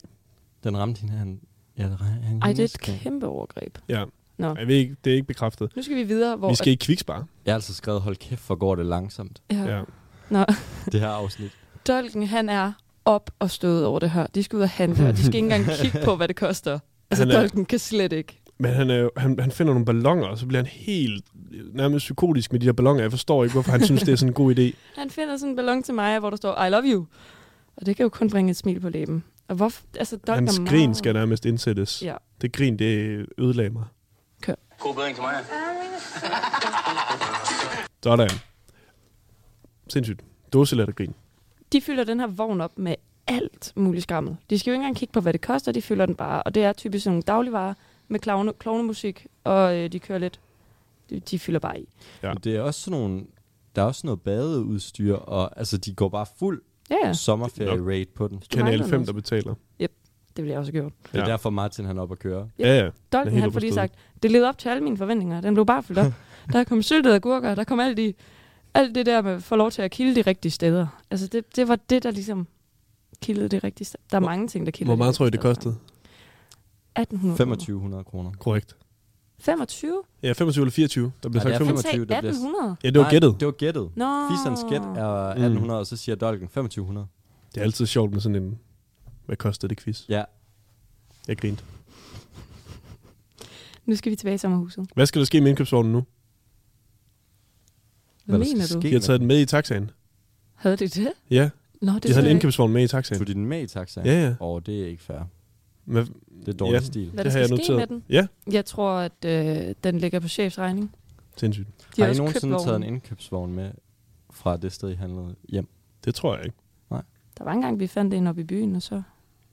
C: Den ramte hende, han... Ja, den ramte hende.
D: Ej, det er et kæmpe overgreb.
B: Ja.
D: Nå.
B: Jeg ved ikke, det er ikke bekræftet.
D: Nu skal vi videre, hvor...
B: Vi skal ikke kvikspare.
C: Jeg har altså skrevet, hold kæft, for går det langsomt,
D: ja.
B: Ja.
D: Nå,
C: det her afsnit.
D: Dolken, han er op og stød over det her. De skal ud og handle, og de skal ikke engang kigge på, hvad det koster. Altså,
B: Han er-
D: Dolken kan slet ikke.
B: Men han, er, jo- han, han finder nogle ballonger, og så bliver han helt øh, nærmest psykotisk med de der ballonger. Jeg forstår ikke, hvorfor han synes, det er sådan en god idé.
D: Han finder sådan en ballon til mig, hvor der står, I love you. Og det kan jo kun bringe et smil på læben. Og hvorfor? Altså, Dolken
B: Hans
D: er
B: grin
D: meget...
B: skal nærmest indsættes.
D: Ja.
B: Det grin, det ødelagde mig.
F: God bedring til mig.
B: Sådan. Sindssygt. Dåselattergrin.
D: De fylder den her vogn op med alt muligt skammel. De skal jo ikke engang kigge på, hvad det koster, de fylder den bare. Og det er typisk sådan nogle dagligvarer med klovne, klovnemusik, og øh, de kører lidt. De, de fylder bare i.
B: Ja.
C: Ja. Det er også sådan nogle... Der er også noget badeudstyr, og altså, de går bare fuld
D: Ja, ja.
C: ja. sommerferie-rate på den.
D: Du mangler
B: Kanal 5,
D: noget.
B: der betaler.
D: Det bliver jeg også gjort.
C: Det er
B: Ja.
C: ja. derfor, Martin han er oppe at køre.
B: Ja, ja.
D: Dolken,
B: helt
D: han får lige
B: overstået.
D: sagt, det levede op til alle mine forventninger. Den blev bare fyldt op. der kom syltede agurker, der kom alt, de, alt det der med at få lov til at kilde de rigtige steder. Altså, det, det var det, der ligesom kildede det rigtige sted. Der er
B: Hvor-
D: mange ting, der kilder
B: Hvor
D: de
B: meget
D: rigtige
B: tror I, det
D: steder.
B: kostede?
D: 1800 kroner.
C: 2500 kroner.
B: Korrekt.
D: 25?
B: Ja, 25 eller 24. Der blev
C: Ja,
B: sagt
C: det er
B: 25.
D: Han sagde
C: 25, der bliver-
D: 1800.
B: Ja, det var
C: Nej,
B: gættet. Mm.
C: Det var gættet.
D: Nå.
C: Fiserens gæt er 1800, og så siger Dolken 2500.
B: Det er altid sjovt med sådan en, hvad kostede det quiz?
C: Ja,
B: Jeg grinte.
D: Nu skal vi tilbage i sommerhuset.
B: Hvad skal der ske med indkøbsvognen nu?
D: Hvad,
C: der
D: mener
C: skal
D: du?
C: ske
B: De har taget den med i taxaen.
D: Havde det det?
B: Ja,
D: Nå, det
B: de havde
D: så
B: en
D: jeg
B: indkøbsvogn med i
C: med-
B: taxaen.
C: Tog de den med i taxaen?
B: Ja, ja.
C: Åh, oh, det er ikke fair.
B: Hvad,
C: Det er dårlig
B: Ja.
C: ja. stil.
D: Hvad
B: det
D: der
B: har
D: skal
B: jeg
D: ske
B: noteret.
D: med den?
B: Ja,
D: ikke. Jeg tror, at øh, den ligger på chefsregning.
B: sindssygt.
D: De
C: har
D: har,
C: I
D: også købt
C: nogensinde taget
D: vognen.
C: en indkøbsvogn med fra det sted, I handlede hjem?
B: Det tror jeg ikke.
D: Der var engang, vi fandt en oppe i byen, og så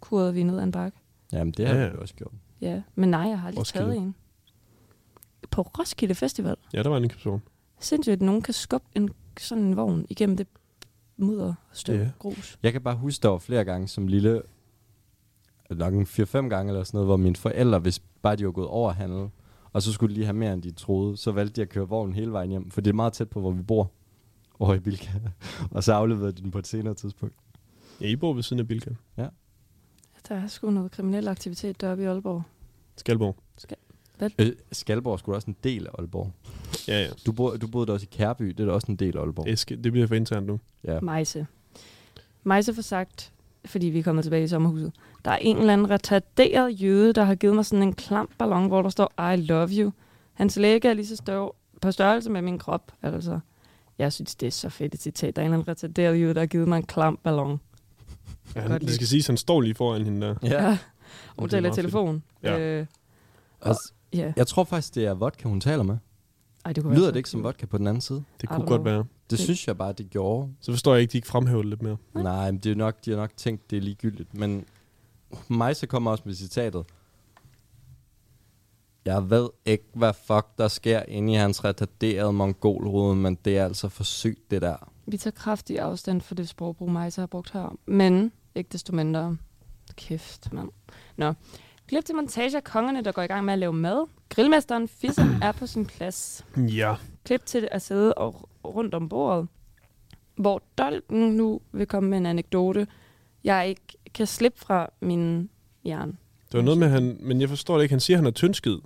D: kurede vi ned ad en bakke.
C: Jamen, det har
B: Ja,
C: ja,
B: ja.
C: ja. vi også gjort.
D: Ja, men nej, jeg har aldrig
B: Roskilde.
D: taget en. På Roskilde Festival.
B: Ja, der var en indkøbsvogn.
D: Sindssygt, at nogen kan skubbe en, sådan en vogn igennem det mudder, støv,
B: Ja.
D: yeah. grus.
C: Jeg kan bare huske, der var flere gange som lille, nok en 4-5 gange eller sådan noget, hvor mine forældre, hvis bare de var gået over handel, Og så skulle de lige have mere, end de troede. Så valgte de at køre vognen hele vejen hjem, for det er meget tæt på, hvor vi bor. Over i Bilka. og så afleverede de den på et senere tidspunkt.
B: Ja, I bor ved siden af Bilka.
D: Der er sgu noget kriminel aktivitet deroppe i Aalborg.
B: Skalborg.
C: Øh, Skalborg er sgu da også en del af Aalborg.
B: Ja, ja.
C: Du, bo, du boede da også i Kærby, det er da også en del af Aalborg.
B: Eske, det bliver for internt nu.
C: Ja.
D: Mejse. Mejse får sagt, fordi vi er kommet tilbage i sommerhuset. Der er en eller anden retarderet jøde, der har givet mig sådan en klam ballon, hvor der står, I love you. Hans læge er lige så større, på størrelse med min krop, altså. Jeg synes, det er så fedt et citat. Der er en eller anden retarderet jøde, der har givet mig en klam ballon.
B: Ja,
D: Godt
B: han, det
D: lidt.
B: skal siges, han står lige foran hende der.
C: ja.
D: Hun
B: det er
D: taler i
B: meget fedt.
D: telefon.
B: Ja.
D: Øh,
C: Og,
D: ja.
C: jeg tror faktisk, det er vodka, hun taler med.
D: Ej, det kunne
C: Lyder
D: være
C: det ikke som vodka på den anden side?
B: Det
D: Ej,
B: kunne
D: hvor-
B: godt være.
C: Det
D: Det-
C: synes jeg bare, det gjorde.
B: Så forstår jeg ikke, de ikke fremhæver det lidt mere.
D: Nej.
C: Nej, men det er nok, de har nok tænkt, det er ligegyldigt. Men mig så kommer også med citatet. Jeg ved ikke, hvad fuck der sker inde i hans retarderede mongolhoved, men det er altså for sygt, det der.
D: Vi tager kraftig afstand for det sprogbrug, Majsa har brugt her. Men ikke desto mindre. Kæft, mand. Nå. Klip til montage af kongerne, der går i gang med at lave mad. Grillmesteren Fisser er på sin plads.
B: Ja.
D: Klip til at sidde og rundt om bordet, hvor Dolken nu vil komme med en anekdote, jeg ikke kan slippe fra min hjerne.
B: Det var noget med, han, men jeg forstår det ikke. Han siger, han er tyndskid.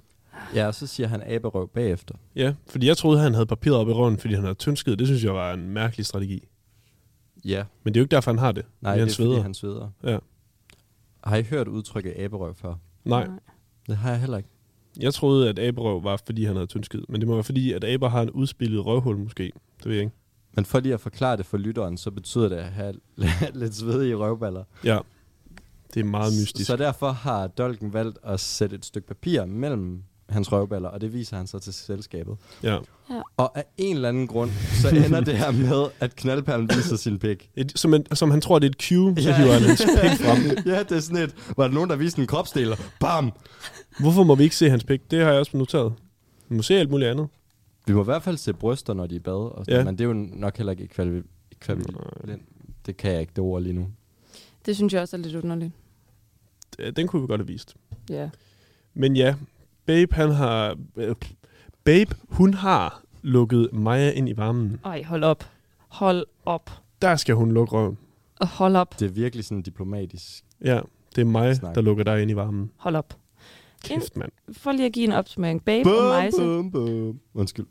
C: Ja, og så siger han aberøv bagefter.
B: Ja, fordi jeg troede, han havde papiret op i røven, fordi han havde tyndskid. Det synes jeg var en mærkelig strategi.
C: Ja.
B: Men det er jo ikke derfor, han har det.
C: Nej,
B: fordi han
C: det er
B: sveder.
C: fordi, han sveder.
B: Ja.
C: Har I hørt udtrykket aberøv før?
B: Nej,
C: Det har jeg heller ikke.
B: jeg troede, at aberøv var, fordi han havde tyndskid. Men det må være, fordi at aber har en udspillet røvhul måske. Det ved jeg ikke.
C: Men for lige at forklare det for lytteren, så betyder det at have lidt svedige røvballer.
B: Ja, det er meget mystisk.
C: Så derfor har Dolken valgt at sætte et stykke papir mellem hans røvballer, og det viser han så til selskabet.
B: Ja.
C: Og af en eller anden grund, så ender det her med, at knaldperlen viser sin pik.
B: Et, som, en, som han tror, det er et cue, så
C: Ja.
B: hiver han hans pik frem.
C: ja, det er sådan et, var der nogen, der viste en kropsdel, og bam!
B: Hvorfor må vi ikke se hans pik? Det har jeg også noteret. Vi må se alt muligt andet.
C: Vi må i hvert fald se bryster, når de er i bad, og sådan,
B: Ja.
C: ja. men det er jo nok heller ikke kvalvi... kvalvi- det kan jeg ikke, det ord lige nu.
D: Det synes jeg også er lidt underligt.
B: Øh, Den kunne vi godt have vist.
D: Ja.
B: Men ja, Babe, han har... øh, Babe, hun har lukket Maja ind i varmen.
D: Ej, hold op. Hold op.
B: Der skal hun lukke røven.
D: Og hold op.
C: Det er virkelig sådan diplomatisk.
B: Ja, det er mig,
C: Snak.
B: der lukker dig ind i varmen.
D: Hold op.
B: Kæft, mand.
D: For lige at give en opsummering. Babe og Majse.
C: bum, bum. Undskyld.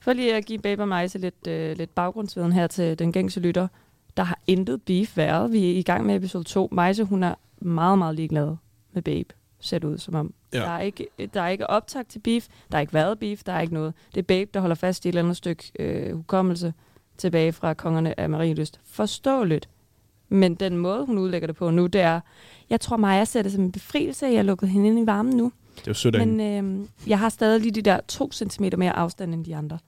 D: For lige at give Babe og Majse lidt, øh, lidt baggrundsviden her til den gængse lytter. Der har intet beef været. Vi er i gang med episode 2. Majse, hun er meget, meget ligeglad med Babe. Ser det ud som om.
B: Ja.
D: Der, er ikke, der er ikke optag til beef. Der er ikke været beef. Der er ikke noget. Det er Babe, der holder fast i et eller andet stykke øh, hukommelse tilbage fra kongerne af Marielyst. Forståeligt. Men den måde, hun udlægger det på nu, det er, jeg tror, Maja ser det som en befrielse, at jeg har lukket hende ind i varmen nu.
B: Det er jo sødt af
D: Men
B: hende.
D: øh, jeg har stadig lige de der to centimeter mere afstand end de andre.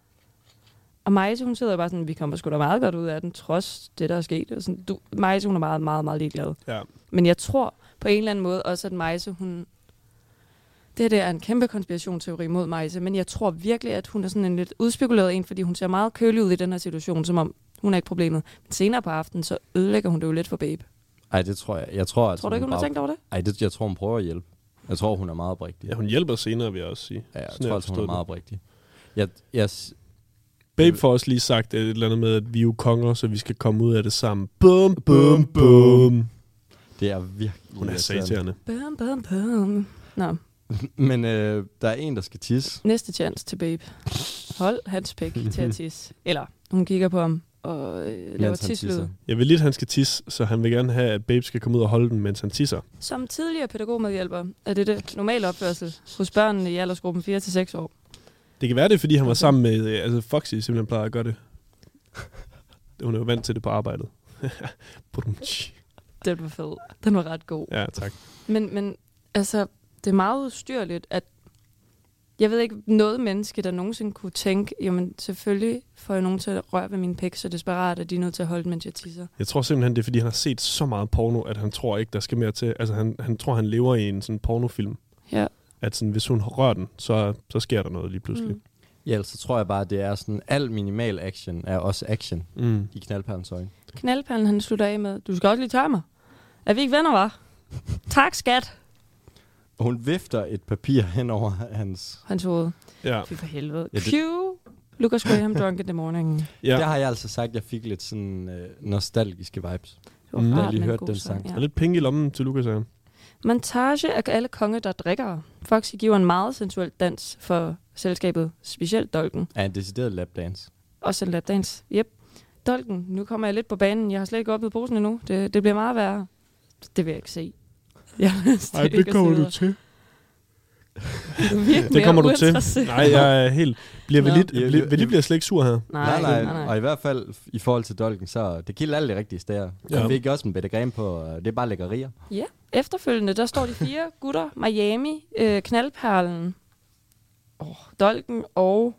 D: Og Majse, hun sidder bare sådan, vi kommer sgu da meget godt ud af den, trods det, der er sket. Og sådan, du, Majse, hun er meget, meget, meget ligeglad.
B: Ja.
D: Men jeg tror på en eller anden måde også, at Majse, hun... Det her det er en kæmpe konspirationsteori mod Majse, men jeg tror virkelig, at hun er sådan en lidt udspekuleret en, fordi hun ser meget kølig ud i den her situation, som om hun er ikke problemet. Men senere på aftenen, så ødelægger hun det jo lidt for babe.
C: Ej, det tror jeg. Jeg tror, altså,
D: Tror du ikke, hun har
C: bare-
D: tænkt over det?
C: Ej, det, jeg tror, hun prøver at hjælpe. Jeg tror, hun er meget oprigtig.
B: Ja, hun hjælper senere, vil jeg også sige.
C: Ja, jeg
B: Sådan
C: tror
B: har
C: altså, hun er
B: forstået
C: meget oprigtig. Jeg, jeg, s-
B: det. Babe får også lige sagt øh, et eller andet med, at vi er jo konger, så vi skal komme ud af det sammen. Bum, bum, bum.
C: det er virkelig...
B: Hun er
C: irriterende.
B: satirende.
D: Bum, bum, bum. Nå,
C: Men øh, der er en, der skal tisse.
D: Næste chance til babe. Hold hans pæk til at tisse. Eller hun kigger på ham og øh, laver
C: mens han
D: tislyd.
C: tisser.
B: Jeg vil lidt, at han skal tisse, så han vil gerne have, at Babe skal komme ud og holde den, mens han tisser.
D: Som tidligere pædagogmedhjælper er det det normale opførsel hos børnene i aldersgruppen 4-6 år.
B: Det kan være, det er, fordi han var sammen med... øh, Altså, Foxy simpelthen plejer at gøre det. Hun er jo vant til det på arbejdet. Brum, tji.
D: Den var fed. Den var ret god.
B: ja, tak.
D: Men, men altså, det er meget ustyrligt, at jeg ved ikke noget menneske, der nogensinde kunne tænke, jamen selvfølgelig får jeg nogen til at røre ved min pæk, så desperat, at de er nødt til at holde den, mens jeg tisser.
B: Jeg tror simpelthen, det er, fordi han har set så meget porno, at han tror ikke, der skal mere til. Altså, han, han tror, han lever i en sådan pornofilm.
D: Ja.
B: At sådan, hvis hun rører den, så, så sker der noget lige pludselig.
C: Ja, ellers så tror jeg bare, det er sådan, al minimal action er også action
B: Mm. Mm.
C: i knaldperlens øjne.
D: Knaldperlen, han slutter af med, du skal også lige tørre mig. Er vi ikke venner, var? Tak, skat.
C: Og hun vifter et papir hen over hans...
D: Hans hoved.
B: Ja.
D: Fy for helvede.
C: Ja,
D: Ja,
C: det-
D: det... Q. Lucas Graham drunk in the morning.
B: Ja.
C: Ja. Der har jeg altså sagt, at jeg fik lidt sådan øh, nostalgiske vibes.
D: Det var
B: Mm.
D: mm.
B: Jeg
D: rart,
B: har
C: lige
D: med en
C: hørt
D: god
C: den
D: sang,
C: sang.
B: Der er lidt penge i lommen til Lukas her.
D: Montage af alle konge, der drikker. Foxy giver en meget sensuel dans for selskabet, specielt Dolken.
C: Ja, en decideret lapdance.
D: Også en lapdans. Yep. Dolken, nu kommer jeg lidt på banen. Jeg har slet ikke åbnet posen endnu. Det, det bliver meget værre. Det vil jeg ikke se. Jeg har lyst til ikke at sidde og-
B: til.
D: Du er virkelig
B: Det kommer du
D: mere
B: til.
D: uinteresseret.
B: Nej, jeg er helt... Bliver
D: Nå.
B: Velit,
C: Ja, ja,
B: Velit, Velit
C: ja.
B: bliver slet ikke sur her.
D: Nej, nej, nej. nej.
C: Og i hvert fald f- i forhold til Dolken, så det kilder alle de rigtige steder.
B: Ja.
C: Ja. Og vi fik også en bedre grem på, øh, det er bare lækkerier.
D: Ja. Efterfølgende, der står de fire gutter, Miami, øh, Knaldperlen, oh, Dolken og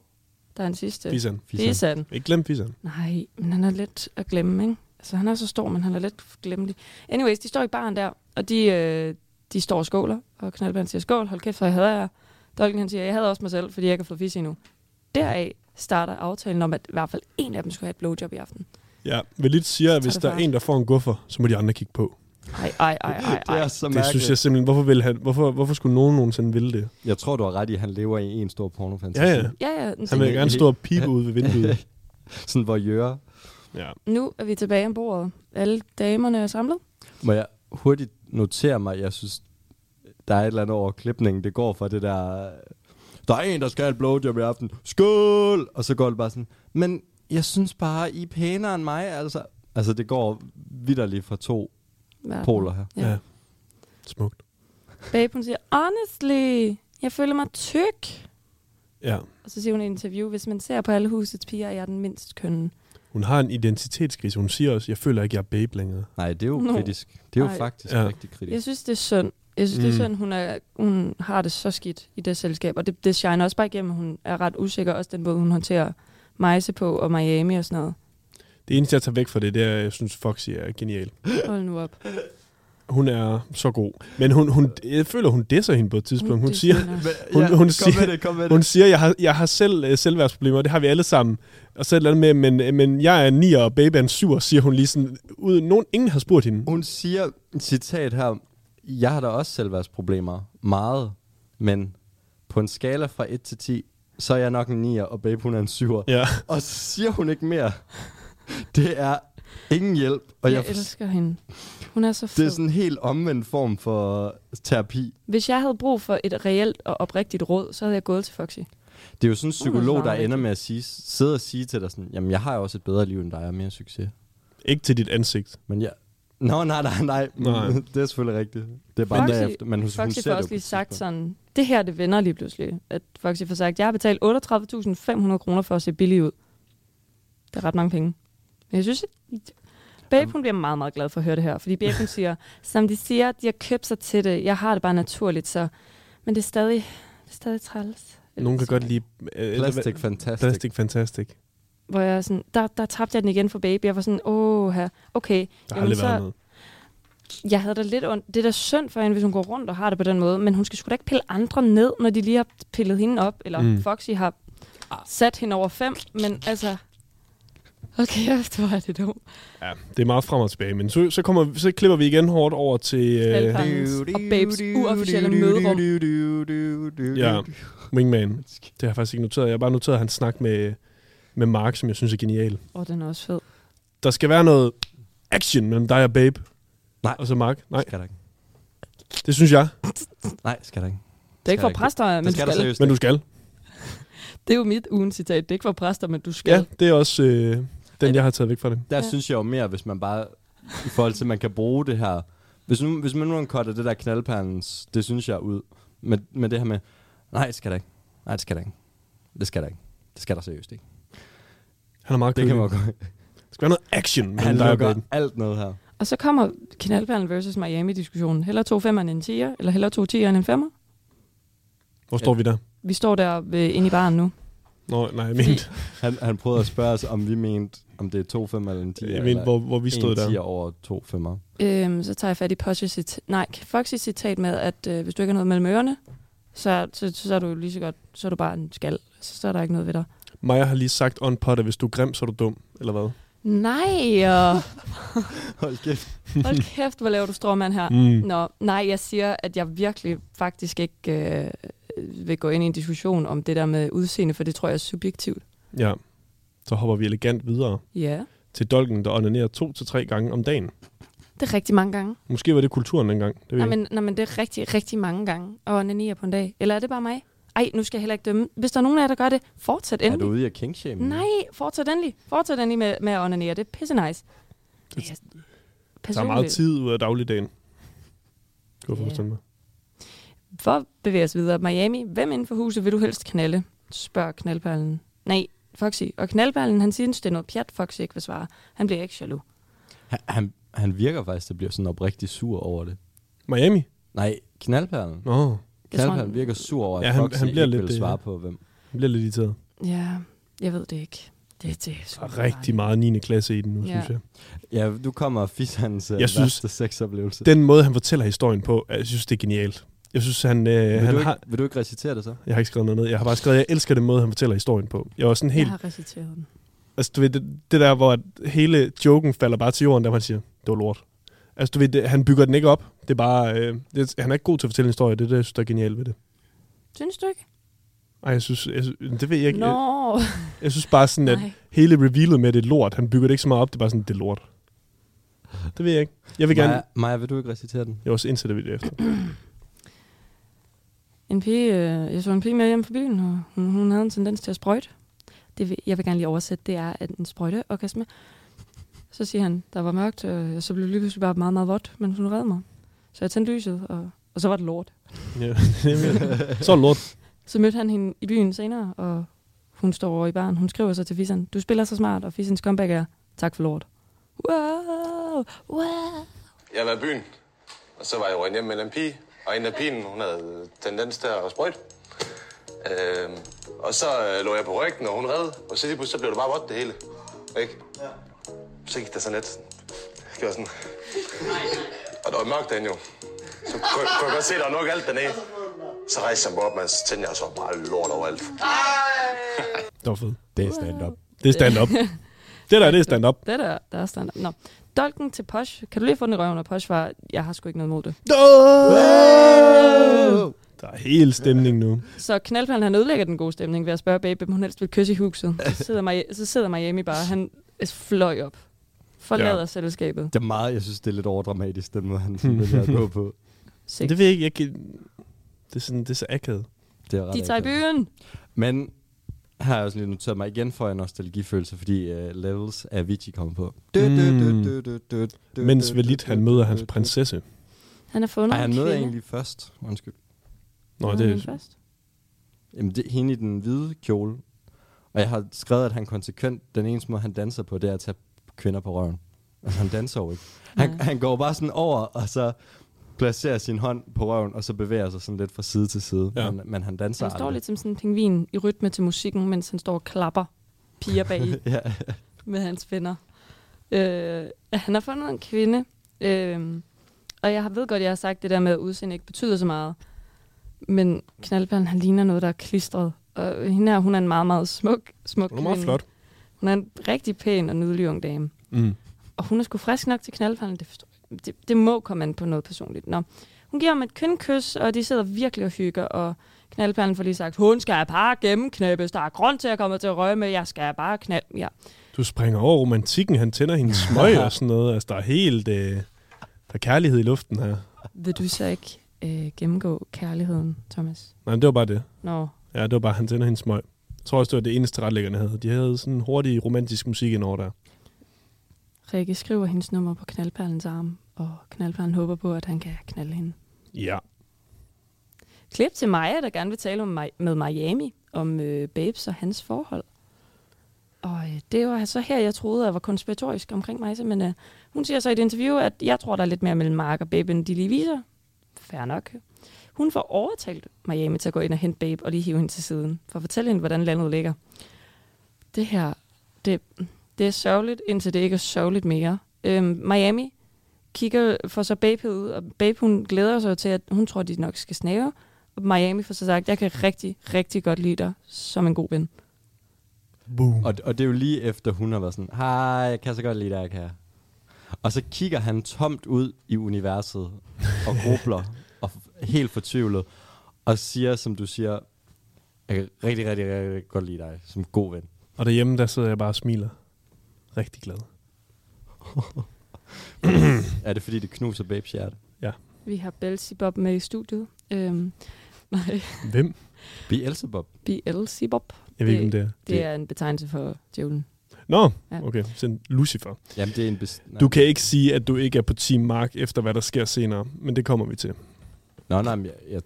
D: der er en sidste.
B: Fisan.
D: Fisan.
B: Ikke glem Fisan.
D: Nej, men han er let at glemme, ikke? Altså, han er så stor, men han er let glemmelig. Anyways, de står i baren der, og de, øh, de står og skåler, og Knaldperlen siger, skål, hold kæft, for jeg hader jer. Dolken han siger, jeg hader også mig selv, fordi jeg ikke har fået fisse endnu. Deraf starter aftalen om, at i hvert fald en af dem skulle have et blowjob i aften.
B: Ja, Velit siger, at hvis
D: det
B: der er
D: fra.
B: en, der får en guffer, så må de andre kigge på.
D: Ej, ej, ej, ej,
C: Det
D: ej.
C: er så
B: Det
C: mærkeligt.
B: synes jeg simpelthen, hvorfor, vil han, hvorfor, hvorfor skulle nogen nogensinde ville det?
C: jeg tror, du har ret i, at han lever i en stor pornofantasi.
B: Ja, ja.
D: Ja, ja,
B: Han vil gerne stå og pipe ud ved vinduet.
C: Sådan, hvor jøre.
B: Ja.
D: Nu er vi tilbage om bordet. Alle damerne er samlet.
C: Må jeg hurtigt notere mig, jeg synes, der er et eller andet over klipningen. Det går fra det der, der er en, der skal have et blowjob i aften. Skål! Og så går det bare sådan, men jeg synes bare, I er pænere end mig, altså. Altså, det går vidderligt fra to
D: Verden.
C: poler her.
D: Ja.
B: ja.
D: ja.
B: Smukt.
D: Babe, hun siger, honestly, jeg føler mig tyk.
B: Ja.
D: Og så siger hun i et interview, hvis man ser på alle husets piger, er jeg den mindst kønne.
B: Hun har en identitetskrise. Hun siger også, jeg føler ikke, jeg er babe længere.
C: Nej, det er jo
D: Nå.
C: kritisk. Det er jo
D: Ej.
C: faktisk
B: Ja.
C: rigtig kritisk.
D: Jeg synes, det er synd. Jeg synes, mm. det
B: Mm.
D: er synd, hun, er, hun har det så skidt i det selskab. Og det, det shiner også bare igennem. Hun er ret usikker, også den måde, hun håndterer Majse på og Miami og sådan noget.
B: Det eneste, jeg tager væk fra det, det er, at jeg synes, Foxy er genial.
D: Hold nu op.
B: Hun er så god. Men hun, hun, jeg føler, hun disser hende på et tidspunkt. Hun
D: det
B: siger,
D: synd også.
B: Hun- hun
C: kom
B: siger-
C: med det, kom med
B: hun
C: det.
B: siger jeg, har, jeg har selv øh, selvværdsproblemer, det har vi alle sammen. Og så et eller andet med, men, øh, men jeg er en 9 og baby er en 7, siger hun lige sådan. Ud, nogen, ingen har spurgt hende.
C: Hun siger, citat her, jeg har da også selvværdsproblemer, meget, men på en skala fra 1 til 10, så er jeg nok en 9'er, og babe hun er en 7'er.
B: Ja.
C: Og så siger hun ikke mere. Det er ingen hjælp, og
D: Jeg,
C: jeg, jeg
D: elsker hende. Hun er så fed.
C: det er sådan en helt omvendt form for terapi.
D: Hvis jeg havde brug for et reelt og oprigtigt råd, så havde jeg gået til Foxy.
C: Det er jo sådan en psykolog, der
D: meget
C: ender med at sige, sidde og sige til dig sådan, jamen jeg har jo også et bedre liv end dig, og mere succes.
B: Ikke til dit ansigt.
C: Men jeg... Nå, nej, nej, nej.
B: Nej.
C: nej. det er selvfølgelig rigtigt. Det er bare
D: Foxy-
C: derefter. Men hun, hun
D: Foxy
C: ser
D: får
C: det jo
D: også
C: på
D: lige
C: et
D: sagt
C: tidspunkt.
D: sådan, det her det vender lige pludselig. At Foxy får sagt, jeg har betalt 38.500 kroner for at se billig ud. Det er ret mange penge. Men jeg synes, at Babe, hun bliver meget, meget glad for at høre det her. Fordi Babe, hun siger, som de siger, de har købt sig til det. Jeg har det bare naturligt, så... Men det er stadig, det er stadig træls.
B: Nogen kan godt lide... Øh,
C: Plastic Fantastic.
B: Plastic Fantastic. Der
D: Hvor jeg er sådan, der, der tabte jeg den igen for Babe. Jeg var sådan, åh, her. okay.
B: har aldrig
D: så,
B: været noget.
D: Jeg havde da lidt ondt. Det er da synd for hende, hvis hun går rundt og har det på den måde, men hun skal sgu da ikke pille andre ned, når de lige har pillet hende op, eller
B: Mm.
D: mm. Foxy har sat hende over fem, men altså... Okay, jeg tror, at det er dumt.
B: Ja, det er meget frem og tilbage. Men så, så, kommer, så klipper vi igen hårdt over til øh,
D: Knaldperlens og Babes uofficielle møderum.
B: ja, Wingman. Det har jeg faktisk ikke noteret. Jeg har bare noteret hans snak med, med Mark, som jeg synes er genial.
D: Åh, oh, den er også fed.
B: Der skal være noget action mellem dig og Babe.
C: Nej.
B: Og så Mark. Nej,
C: Skal der ikke.
B: det synes jeg.
C: Nej, skal der ikke.
D: Det er ikke
C: Skal
D: for
C: jeg
D: præster, men
C: Det
D: du
C: skal der
D: skal.
C: seriøst.
B: Men du skal.
D: Det er jo mit ugen citat. Det er ikke for præster, men du skal.
B: Ja, det er også øh, den, jeg har taget væk fra det.
C: Der synes jeg jo mere, hvis man bare, i forhold til, at man kan bruge det her. Hvis, nu, hvis man nu cutter det der knaldperlens, det synes jeg ud. Med, med det her med, nej, det skal der ikke. Nej, det skal der ikke. Det skal der ikke. Det skal der seriøst ikke.
B: Han er meget
C: Det
B: kedelig.
C: kan man godt.
B: Der skal være noget action
C: Han
B: mellem dig og
C: lukker
B: Babe.
C: alt noget her.
D: Og så kommer Knaldperlen versus Miami-diskussionen. Heller to femmer end en tiger, eller heller to tiger end en femmer.
B: Hvor står vi der?
D: Vi står der ved, inde i baren nu.
B: Nå, nej, jeg mente,
C: Han, han prøvede at spørge os, om vi mente, om det er to femmer eller en 10.
B: jeg mente hvor, hvor vi stod
C: en 10
B: der.
C: over to femmer.
D: Øhm, så tager jeg fat i Posh's citat. Nej, Foxys citat med, at øh, hvis du ikke har noget mellem ørerne, så, så, så er du lige så godt, så er du bare en skal. Så, så er der ikke noget ved dig.
B: Maja har lige sagt on pot, at hvis du er grim, så er du dum, eller hvad?
D: Nej, og
C: Hold kæft.
D: hold kæft, hvor laver du stråmand her.
B: Mm.
D: Nå, nej, jeg siger, at jeg virkelig faktisk ikke øh, vil gå ind i en diskussion om det der med udseende, for det tror jeg er subjektivt.
B: Ja. Så hopper vi elegant videre
D: Ja,
B: til dolken, der onanerer to til tre gange om dagen.
D: det er rigtig mange gange.
B: Måske var det kulturen dengang. Det ved
D: Nej,
B: jeg. ikke.
D: men, nej, men det er rigtig, rigtig mange gange at onanere på en dag. Eller er det bare mig? Ej, nu skal jeg heller ikke dømme. Hvis der er nogen af jer, der gør det, fortsæt
C: Er du
D: endelig.
C: ude i at
B: Mm.
C: kinkshaming?
D: Nej, fortsæt endelig. Fortsæt endelig med, med at onanere. Det er pisse nice. Det, jeg,
B: Der er meget tid ud af dagligdagen. Kunne jeg
D: Ja.
B: forestille mig.
D: For at bevæge os videre. Miami, hvem inden for huset vil du helst knalde? Spørger knaldperlen. Nej, Foxy. Og knaldperlen, han synes, det er noget pjat, Foxy ikke vil svare. Han bliver ikke jaloux.
C: Han, han, han virker faktisk, at bliver sådan oprigtig sur over det.
B: Miami?
C: Nej, knaldperlen.
B: Nå, oh,
D: Jeg tror,
C: Knaldperlen
D: han-
C: virker sur over, at
B: Ja,
C: ja,
B: han-
C: Foxy
B: han bliver
C: ikke
B: lidt
C: vil
B: det,
C: svare
B: ja.
C: på, hvem.
B: jeg bliver lidt irriteret.
D: Ja, jeg ved det ikke. Det, det er
B: Der
D: sgu
B: er rigtig meget 9. klasse i den nu,
D: Ja.
B: ja. synes jeg.
C: Ja, nu kommer Fissans uh,
B: Jeg synes-
C: værste sexoplevelse.
B: Den måde, han fortæller historien på, jeg synes, det er genialt. Jeg synes, han, øh,
C: vil,
B: han
C: du ikke,
B: har...
C: vil du ikke recitere det så?
B: Jeg har ikke skrevet noget ned. Jeg har bare skrevet, at jeg elsker den måde, han fortæller historien på. Jeg var sådan helt...
D: Jeg har reciteret den.
B: Altså, du ved, det, det der, hvor hele joken falder bare til jorden, der man siger, det var lort. Altså, du ved, det, han bygger den ikke op. Det er bare... Øh, det, han er ikke god til at fortælle en historie. Det er det, jeg synes, der er genialt ved det.
D: Synes du ikke?
B: Ej, jeg synes... Jeg, synes- det ved jeg ikke. Jeg,
D: Nå,
B: jeg, synes bare sådan, at
D: nej.
B: hele revealet med, at det er lort, han bygger det ikke så meget op. Det er bare sådan, det er lort. Det ved jeg ikke. Jeg vil gerne...
C: Maja, Maja, vil du ikke recitere den?
B: Jeg var også indsætter video efter.
D: En pige, øh, jeg så en pige med hjem fra byen, og hun, hun havde en tendens til at sprøjte. Det, vil- jeg vil gerne lige oversætte, det er at en sprøjteorgasme. Så siger han, der var mørkt, og så blev det lige pludselig bare meget, meget vådt, men hun reddede mig. Så jeg tændte lyset, og, og så var det lort.
B: Ja, det mener jeg. så er det lort.
D: Så mødte han hende i byen senere, og hun står over i baren. Hun skriver så til Fissen, du spiller så smart, og Fissens comeback er, tak for lort. Wow, wow.
E: Jeg var i byen, og så var jeg rundt hjem med en pige. Og en af pigen, hun havde tendens til at sprøjte. Øhm, og så øh, lå jeg på ryggen, og hun red. Og så lige pludselig så blev det bare vådt det hele. Ikke? Ja. Så gik der sådan lidt. Jeg gjorde sådan. Og der var mørkt derinde jo. Så kunne, kunne jeg godt se, at der var nok alt dernede. Så rejste jeg mig op, men så tændte jeg så bare lort overalt.
B: Det var fedt.
C: Det er stand-up.
B: Det er stand-up. det der, det er stand-up.
D: Det der, der er stand Nå. Dolken til Posh. Kan du lige få den i røven? Og Posh var, jeg har sgu ikke noget mod det.
B: Der er helt stemning nu.
D: Så knaldperlen, han ødelægger den gode stemning ved at spørge baby, om hun helst vil kysse i huset. Så sidder, Mia- så sidder Miami bare, han er fløj op. Forlader ja.
B: Ja.
D: selskabet.
C: Det er meget, jeg synes, det er lidt overdramatisk, den måde, han sådan vælger at gå på.
D: Sigt.
B: Det ved jeg ikke, jeg kan... Det er, sådan, det er så akavet.
C: Det er ret
D: De tager i
C: akavet.
D: byen.
C: Men her har jeg også lige noteret mig igen for en nostalgifølelse, fordi uh, Levels af Avicii kom på.
B: Hmm. Mens Valit, han møder hans prinsesse.
D: Han er fundet.
C: Nej, han
D: en
C: møder
D: kvinde.
C: egentlig først. Undskyld.
B: Nå,
D: Møder
B: det
D: han
B: er...
D: først.
C: Jamen, det er hende i den hvide kjole. Og jeg har skrevet, at han konsekvent, den eneste måde, han danser på, det er at tage kvinder på røven. Altså, han danser jo ikke. Han,
D: Nej.
C: han går bare sådan over, og så placerer sin hånd på røven, og så bevæger sig sådan lidt fra side til side.
B: Ja.
C: Ja. Men, men han danser
D: Han står
C: aldrig.
D: lidt som sådan en pingvin i rytme til musikken, mens han står og klapper piger bag i
C: Ja,
D: med hans venner. Øh, han har fundet en kvinde, øh, og jeg har- ved godt, jeg har sagt det der med, at udseende ikke betyder så meget. Men knaldperlen, han ligner noget, der er klistret. Og hende her, hun er en meget, meget smuk, smuk
B: Hun er meget
D: kvinde.
B: flot.
D: Hun er en rigtig pæn og nydelig ung dame.
B: Mm.
D: Og hun er sgu frisk nok til knaldperlen. Det, forstår jeg- det, det må komme an på noget personligt. Nå. Hun giver ham et kønkys, og de sidder virkelig og hygger, og knaldperlen får lige sagt, hun skal bare gennemknæppes, der er grund til at komme til at røge med, jeg skal bare knald... Ja.
B: Du springer over romantikken, han tænder hendes smøg og sådan noget. Altså, der er helt... Øh, der er kærlighed i luften her.
D: Vil du så ikke øh, gennemgå kærligheden, Thomas?
B: Nej, men det var bare det.
D: Nå,
B: Ja, det var bare, han tænder hendes smøg. Jeg tror også, det var det eneste retlæggerne havde. De havde sådan hurtig romantisk musik ind over der.
D: Rikke skriver hendes nummer på knaldperlens arm, og knaldperlen håber på, at han kan knalde hende.
B: Ja.
D: Klip til Maja, der gerne vil tale om, Mi- med Miami, om øh, Babes og hans forhold. Og øh, det var så her, jeg troede, at jeg var konspiratorisk omkring Maja, men øh, hun siger så i et interview, at jeg tror, der er lidt mere mellem Mark og Babe, end de lige viser. Fair nok. Hun får overtalt Miami til at gå ind og hente Babe og lige hive hende til siden, for at fortælle hende, hvordan landet ligger. Det her, det, det er sørgeligt, indtil det ikke er sørgeligt mere. Øhm, Miami kigger for så Babe ud, og Babe hun glæder sig jo til, at hun tror, de nok skal snæve. Og Miami får så sagt, jeg kan rigtig, rigtig godt lide dig som en god ven.
B: Boom.
C: Og, og det er jo lige efter, hun har været sådan, hej, jeg kan så godt lide dig, kære. Og så kigger han tomt ud i universet og grubler og f- helt fortvivlet og siger, som du siger, jeg kan rigtig, rigtig, rigtig godt lide dig som god ven.
B: Og derhjemme, der sidder jeg bare og smiler. Rigtig glad.
C: Er det fordi, det knuser babes hjerte?
D: Vi har Belzebub med i studiet. Øhm, nej,
B: Hvem?
C: Beelzebub.
D: Beelzebub.
B: Jeg ved ikke, om det er.
D: Det er en betegnelse for djævlen.
B: Nå,
D: Ja.
B: okay. Sådan Lucifer.
C: Jamen, det er en bes- nej.
B: Du kan ikke sige, at du ikke er på Team Mark efter, hvad der sker senere. Men det kommer vi til.
C: Nå, nej, men jeg, jeg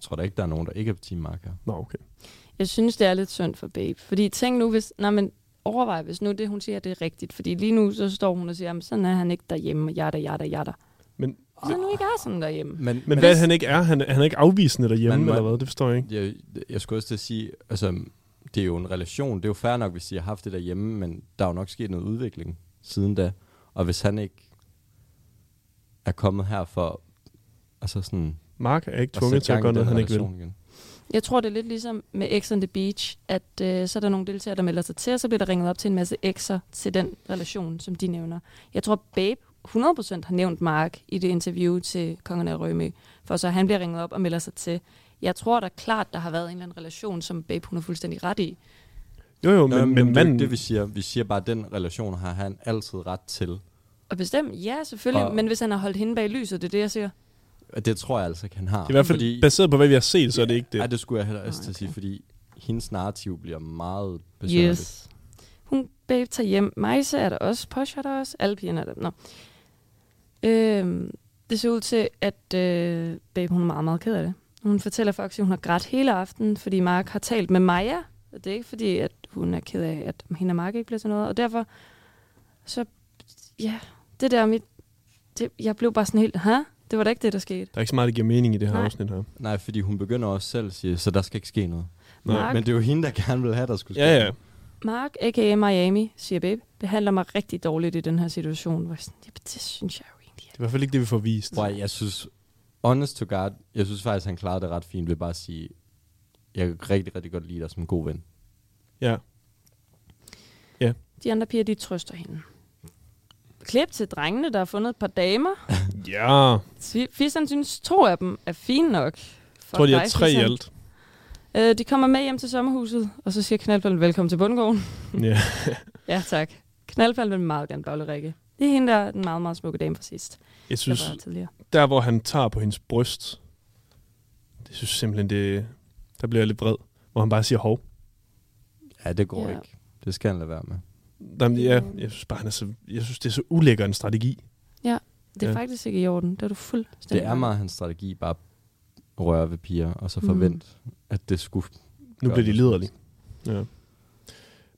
C: tror da ikke, der er nogen, der ikke er på Team Mark her.
B: Nå, okay.
D: Jeg synes, det er lidt synd for Babe. Fordi tænk nu, hvis... Nej, men overvej, hvis nu det, hun siger, det er rigtigt. Fordi lige nu, så står hun og siger, "Jamen, sådan er han ikke derhjemme, og jada, jada, jada.
B: Men-
D: Så nu ikke er sådan derhjemme.
C: Men,
B: Men hvad han ikke er, han, han er ikke afvisende derhjemme,
C: Man må-
B: eller hvad? Det forstår jeg ikke.
C: jeg, jeg skulle også til at sige, altså, det er jo en relation. Det er jo fair nok, hvis de har haft det derhjemme, men der er jo nok sket noget udvikling siden da. Og hvis han ikke er kommet her for altså sådan,
B: Mark er ikke
C: at
B: tvunget
C: sætte
B: til at
C: gang i
B: gøre noget,
C: den
B: han ikke vil.
C: relation Igen.
D: Jeg tror, det er lidt ligesom med X on the Beach, at øh, så er der nogle deltagere, der melder sig til, og så bliver der ringet op til en masse X'er til den relation, som de nævner. Jeg tror, Babe 100% har nævnt Mark i det interview til Kongen af Rømø, for så han bliver ringet op og melder sig til. Jeg tror da klart, der har været en eller anden relation, som Babe hun er fuldstændig ret i.
B: Jo, jo,
C: Men, Nå,
B: men, men
C: men, det er jo ikke
B: manden...
C: det, vi siger. Vi siger bare, at den relation har han altid ret til.
D: Og bestemt, ja, selvfølgelig.
C: Og-
D: Og... Men hvis han har holdt hende bag lyset, det er det, jeg siger.
C: Og det tror jeg altså ikke, han har.
B: I hvert fald
C: fordi,
B: baseret på, hvad vi har set, så er det ikke
C: Ej,
B: det.
C: det skulle jeg heller også
D: Nej,
C: til at sige,
D: okay.
C: fordi hendes narrativ bliver meget besynderligt.
D: Yes. Hun babe tager hjem. Majse er der også. Posh er der også. Alle pigerne er der. Nå. Øhm, det ser ud til, at øh, babe hun er meget, meget ked af det. Hun fortæller Foxy, at hun har grædt hele aftenen, fordi Mark har talt med Maja. Og det er ikke fordi, at hun er ked af, at hende og Mark ikke bliver til noget. Og derfor, så, ja, det der mit... Det, jeg blev bare sådan helt, ha? Det var da ikke det, der skete.
B: Der er ikke så meget, der giver mening i det her
D: Nej.
B: afsnit her.
C: Nej, fordi hun begynder også selv at sige, så der skal ikke ske noget.
B: Nej,
D: Mark,
C: Men det er jo hende, der gerne vil have, der skulle ske
B: Ja, ja.
C: noget.
D: Mark, a.k.a. Miami, siger babe, behandler mig rigtig dårligt i den her situation. Hvor jeg sådan, "Jamen, det synes jeg jo egentlig.
B: Det er i hvert fald ikke det, vi får vist.
C: Boy, jeg synes, honest to God, jeg synes faktisk, han klarede det ret fint ved bare at sige, jeg kan rigtig, rigtig godt lide dig som en god ven.
B: Ja.
D: De andre piger, de trøster hende. Klip til drengene, der har fundet et par damer.
B: Ja.
D: Svi- Fisan synes, to af dem er fine nok.
B: Jeg
D: Fuck
B: tror, de er
D: dig,
B: tre i
D: Fisan.
B: alt.
D: Øh, de kommer med hjem til sommerhuset, og så siger knaldballen velkommen til bundgården.
B: Ja.
D: ja, tak. Knaldballen vil meget gerne bagle Rikke. Det er hende, der er den meget, meget smukke dame fra sidst.
B: Jeg
D: Der
B: synes,
D: var tidligere.
B: der hvor han tager på hendes bryst, det synes jeg simpelthen, det, der bliver jeg lidt vred. Hvor han bare siger hov.
C: Ja, det går
D: Ja.
C: ikke. Det skal han lade være med.
B: Jamen, ja, jeg synes bare, han er så, jeg synes, det er så ulækker en strategi.
D: Det er
B: Ja.
D: ja. faktisk ikke i orden. Det er du fuldstændig.
C: Det er meget hans strategi, bare at røre ved piger, og så
D: Mm.
C: forvente, mm. at det skulle...
B: Nu
C: gøre
B: bliver de
C: noget.
B: liderlige. Ja.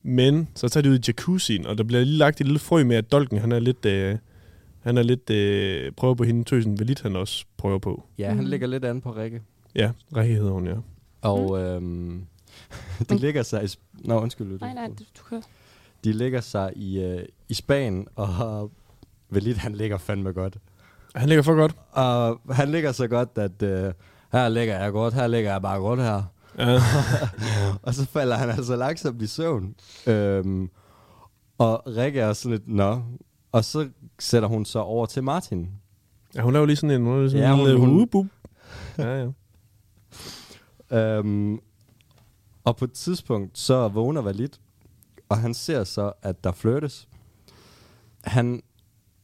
B: Men så tager de ud i jacuzzien, og der bliver lige lagt et lille frø med, at Dolken, han er lidt... Øh, han er lidt... Øh, prøver på hende, tøsen Velit, han også prøver på.
C: Ja, han
D: Mm.
C: ligger lidt an på Rikke.
B: Ja, Rikke hedder hun, ja.
C: Og øhm, de ligger sig i... sp- Nå, undskyld. Lytte.
D: Nej, nej, du, du kan...
C: De ligger sig i, øh, i Spanien, og Velit, han ligger fandme godt.
B: Han ligger for godt.
C: Og han ligger så godt, at øh, her ligger jeg godt, her ligger jeg bare godt her.
B: Ja.
C: Og så falder han altså langsomt i søvn. Øhm, og Rikke er sådan lidt, nå. Og så sætter hun så over til Martin.
B: ja hun laver lige sådan en... Hun laver sådan
C: Ja,
B: ja,
C: hun-
B: hun,
C: hun-
B: hun, hun, Ja, ja.
C: Øhm, og på et tidspunkt, så vågner Valit, og han ser så, at der flirtes. Han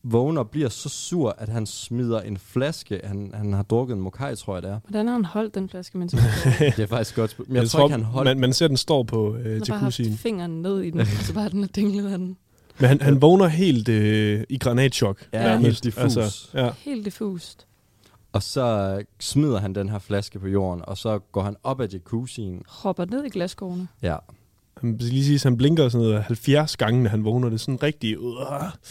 C: vågner og bliver så sur, at han smider en flaske. Han, han har drukket en mokai, tror jeg det er.
D: Hvordan har han holdt den flaske, mens han sov?
C: Det er faktisk godt spurgt. Men jeg, jeg tror, ikke, han holdt
B: man, man ser, den står på øh,
D: Han har bare
B: jacuzzien.
D: haft fingeren ned i den, og så bare den er dinglet af den.
B: Men han, han vågner helt øh, i granatchok.
C: Ja,
B: nærmest. Altså,
C: helt diffus.
B: ja.
D: Helt diffust.
C: Og så øh, smider han den her flaske på jorden, og så går han op ad jacuzzien.
D: Hopper ned i glaskårene.
C: Ja,
B: Han skal lige sige, han blinker sådan noget 70 gange, når han vågner. Det er sådan rigtig... Øh,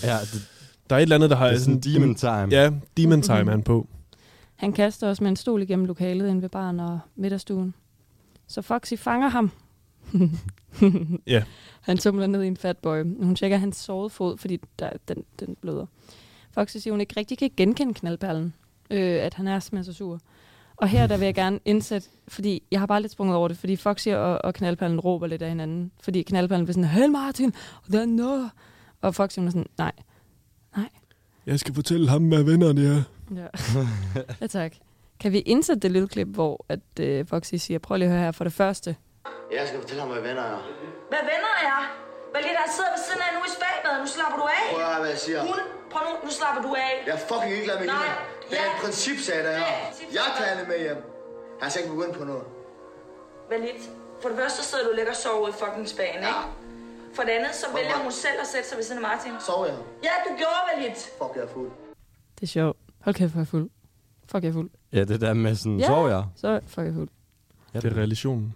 C: ja det,
B: der er et eller andet, der har...
C: det er sådan demon time.
B: Ja, demon time
D: Mhm.
B: er han på.
D: Han kaster også med en stol igennem lokalet ind ved baren og midterstuen. Så Foxy fanger ham.
B: Ja.
D: Han tumler ned i en fatboy. Hun tjekker hans sårede fod, fordi der, den, den bløder. Foxy siger, hun ikke rigtig kan genkende knaldperlen. Øh, at han er simpelthen så sur. Og her der vil jeg gerne indsætte, fordi jeg har bare lidt sprunget over det, fordi Foxy og, og knaldperlen råber lidt af hinanden. Fordi knaldperlen bliver sådan, Hel Martin, og der er noget. Og Foxy hun er sådan, nej, nej.
B: Jeg skal fortælle ham, hvad vennerne er.
D: Ja. ja tak. Kan vi indsætte det lille klip, hvor at, øh, Foxy siger, prøv lige at høre her for det første.
I: Jeg skal fortælle ham, hvad venner er.
J: Hvad venner er? Hvad lige der sidder ved siden af nu i spagbadet? Nu slapper du af.
I: Prøv at høre, hvad jeg siger.
J: Hun, prøv nu, nu slapper du af.
I: Jeg er fucking ligeglad med
J: Nej,
I: livet. Det er
J: ja.
I: et princip, sagde jeg her. Jeg tager hende med hjem. Han skal ikke begynde på noget.
J: Hvad lidt? For det første så sidder du og ligger og sover i fucking spagen, ja. ikke? For det andet, så vælger hun selv at sætte sig ved siden af Martin.
I: Sover jeg?
J: Ja, du gjorde vel lidt.
I: Fuck, jeg er fuld.
D: Det er sjovt. Hold kæft, hvor er jeg fuld. Fuck, jeg er fuld.
C: Ja, det der med sådan, sov jeg?
D: Så fuck, jeg er fuld.
B: Det er relationen.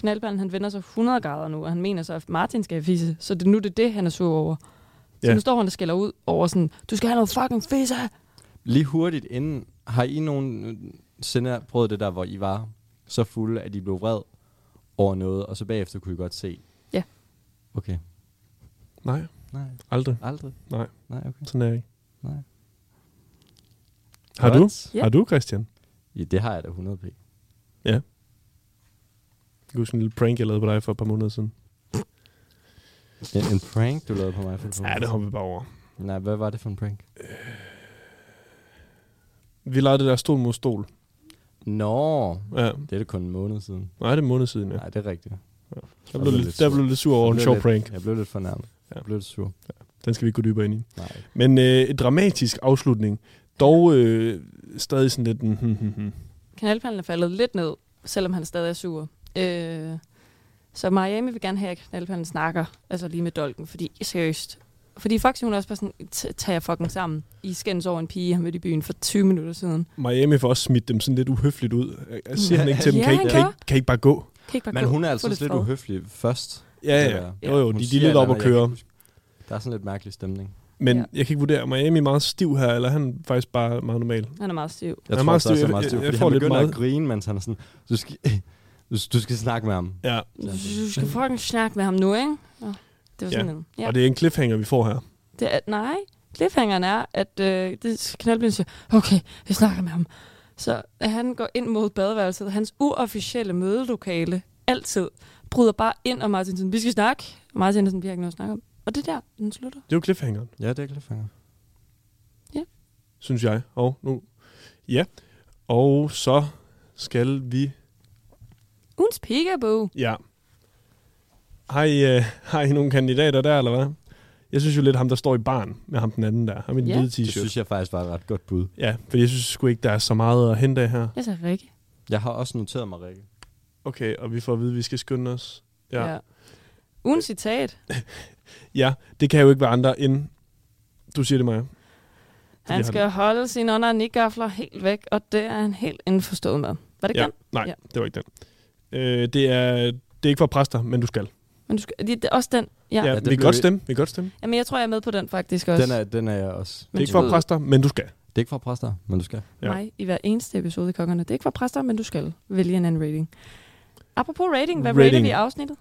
D: Knaldperlen, han vender sig 100 grader nu, og han mener så, at Martin skal have fisse. Så det, nu er det det, han er sur over. Så
B: Ja.
D: nu står han og skælder ud over sådan, du skal have noget fucking fisse.
C: Lige hurtigt inden, har I nogensinde prøvet det der, hvor I var så fulde, at I blev vred over noget, og så bagefter kunne I godt se?
D: Ja.
C: Okay.
B: Nej,
C: Nej,
B: aldrig.
C: aldrig.
B: Nej,
C: Nej, okay.
B: sådan er jeg ikke.
C: Nej.
B: Har du?
C: What?
D: Ja.
B: Har du, Christian?
C: Ja, det har jeg da 100 p.
B: Ja. Jeg kan huske en lille prank, jeg lavede på dig for et par måneder siden.
C: En, en prank, du lavede på mig for et par
B: Ja, det
C: måneder
B: hopper vi bare over.
C: siden. Nej, hvad var det for en prank?
B: Vi lavede det der stol mod stol.
C: Nå,
B: Ja.
C: det er det kun en måned siden.
B: Nej, det er en måned siden, ja.
C: Nej, det er rigtigt.
B: Der blev, lidt, der
C: sur.
B: blev lidt sur over
C: Jeg
B: en
C: blev
B: sjov
C: lidt-
B: prank.
C: Jeg blev lidt fornærmet.
B: Ja.
C: Jeg blev lidt sur.
B: Den skal vi ikke gå dybere ind i.
C: Nej.
B: Men øh, en dramatisk afslutning. Dog øh, stadig sådan lidt... Mm, mm, mm, mm.
D: Knaldperlen er faldet lidt ned, selvom han stadig er sur. Øh, så Miami vil gerne have, at knaldperlen snakker, altså lige med dolken, fordi seriøst. Fordi Foxy, hun er også bare sådan, "T- tag jer fucking sammen. I skændes over en pige, jeg har mødt i byen for 20 minutter siden.
B: Miami får også smidt dem sådan lidt uhøfligt ud. Jeg siger han ikke til dem,
D: Ja,
B: kan, I ikke,
D: han
B: kan, I
D: gør.
B: ikke, kan I ikke bare gå?
D: Kan I ikke bare
C: Men
D: gå?
C: hun er
D: Få
C: altså også lidt
D: fred."
C: uhøflig først.
B: Ja,
C: Det
B: ja.
C: der.
B: Jo, jo,
C: Hun
B: de, de er
C: siger
B: lidt
C: et
B: op
C: eller
B: at
C: andet, jeg kan
B: køre.
C: ikke huske. Der er sådan lidt mærkelig stemning.
B: Men
D: Ja.
B: jeg kan ikke vurdere, om Miami er meget stiv her, eller han er faktisk bare meget normal.
D: Han er meget stiv.
C: Jeg
B: Han er
C: tror
B: meget
C: også, det er
B: stiv.
C: meget stiv,
B: Jeg- jeg
C: fordi
B: får
C: han
B: lidt
C: begynder
B: meget-
C: at grine, mens han er sådan, du skal, du, du skal snakke med ham.
B: Ja,
D: Du skal fucking snakke med ham nu, ikke? Nå, det var sådan
B: Ja.
D: en.
B: ja. og det er en cliffhanger, vi får her.
D: Det er, nej, cliffhangeren er, at øh, det knaldbilen siger, okay, jeg snakker med ham. Så han går ind mod badeværelset, hans uofficielle mødelokale, altid, bryder bare ind, og Martin siger, vi skal snakke. Og Martin er sådan, vi har ikke noget at snakke om. Og det er der, den slutter.
B: Det er jo cliffhangeren,
C: Ja, det er cliffhanger.
B: synes jeg. Og nu... Ja. Og så skal vi...
D: Ugens peekaboo.
B: Ja. Har I, øh, har I nogle kandidater der, eller hvad? Jeg synes jo lidt, ham der står i barn med ham den anden der. Ham i den
D: Ja.
B: hvide
C: Det
B: t-shirt.
C: synes jeg faktisk var et ret godt bud.
B: Ja, for jeg synes sgu ikke, der er så meget at hente af her.
D: Jeg sagde Rikke.
C: Jeg har også noteret mig, Rikke.
B: Okay, og vi får at vide, at vi skal skynde os. Ja. ja.
D: Ugens citat.
B: ja det kan jo ikke være andre end... Du siger det, Maja.
D: Han skal holde sine under nikgafler helt væk, og det er han helt indforstået med. Var det
B: ja,
D: ja.
B: Nej,
D: Ja.
B: det var ikke den. Øh, det, er, det er ikke for præster, men du skal.
D: Men du skal, det er også den. Ja.
B: Ja,
D: ja.
B: ja
C: den
B: vi kan
C: blev-
B: godt stemme. Vi kan godt stemme. Det
D: Jamen, jeg tror, jeg er med på den faktisk også.
C: Den er, den er jeg også.
B: er
D: Men
B: ikke
D: du
B: for
D: ved-
B: præster, men du skal.
C: Det er ikke fra præster, men du skal.
B: Ja.
D: ja. mig i hver eneste episode i Kongerne. Det er ikke for præster, men du skal vælge en anden rating. Apropos rating, hvad rating. rater
B: Rating.
D: vi i afsnittet?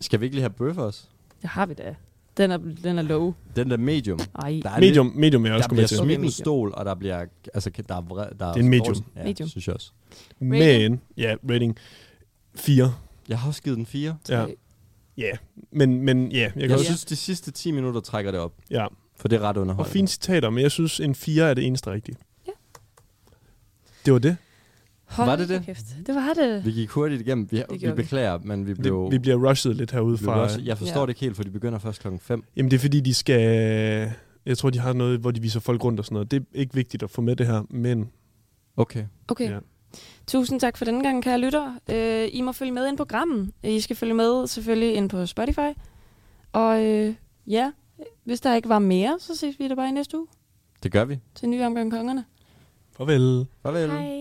C: Skal vi ikke lige have bøffer os?
D: Det har vi da. Den er, den er low.
C: Den der medium.
D: Ej,
C: Der er
B: Medium, medium vil jeg
C: Lidt, der
B: også gå med
C: bliver
B: til.
D: Okay,
C: smidt en
D: medium.
C: stol, og der bliver... Altså, der er, vred- der
B: Det er en medium.
C: Ja,
D: Medium.
C: medium. synes jeg også.
B: Men, ja, rating 4.
C: Jeg har også givet den 4.
B: Ja,
D: Tre.
B: ja. Men, men ja, jeg
C: Jeg,
B: kan
C: jeg
B: også...
C: synes, de sidste 10 minutter trækker det op,
B: Ja,
C: for det er ret
B: og
C: underholdende.
B: fine citater, men jeg synes, en 4 er det eneste rigtige.
D: Ja.
B: Det var det.
D: Hold
C: Var det
D: da
C: det?
D: Kæft. Det var det.
C: Vi gik hurtigt igennem. Vi, vi
D: gjorde vi.
C: beklager, men vi blev...
B: det. Vi bliver rushet lidt herude
C: vi blev
B: fra...
C: også, jeg forstår
D: Ja.
C: det ikke helt, for de begynder først klokken 5.
B: Jamen det er fordi, de skal... Jeg tror, de har noget, hvor de viser folk rundt og sådan noget. Det er ikke vigtigt at få med det her, men...
C: Okay.
D: Okay.
B: Ja.
D: Ja. Tusind tak for denne gang, kære lytter. Øh, I må følge med ind på grammen. I skal følge med selvfølgelig ind på Spotify. Og øh, ja, hvis der ikke var mere, så ses vi da bare i næste uge
C: Det gør vi.
D: til en ny omgang Kongerne.
B: Farvel.
C: Farvel.
D: Hej.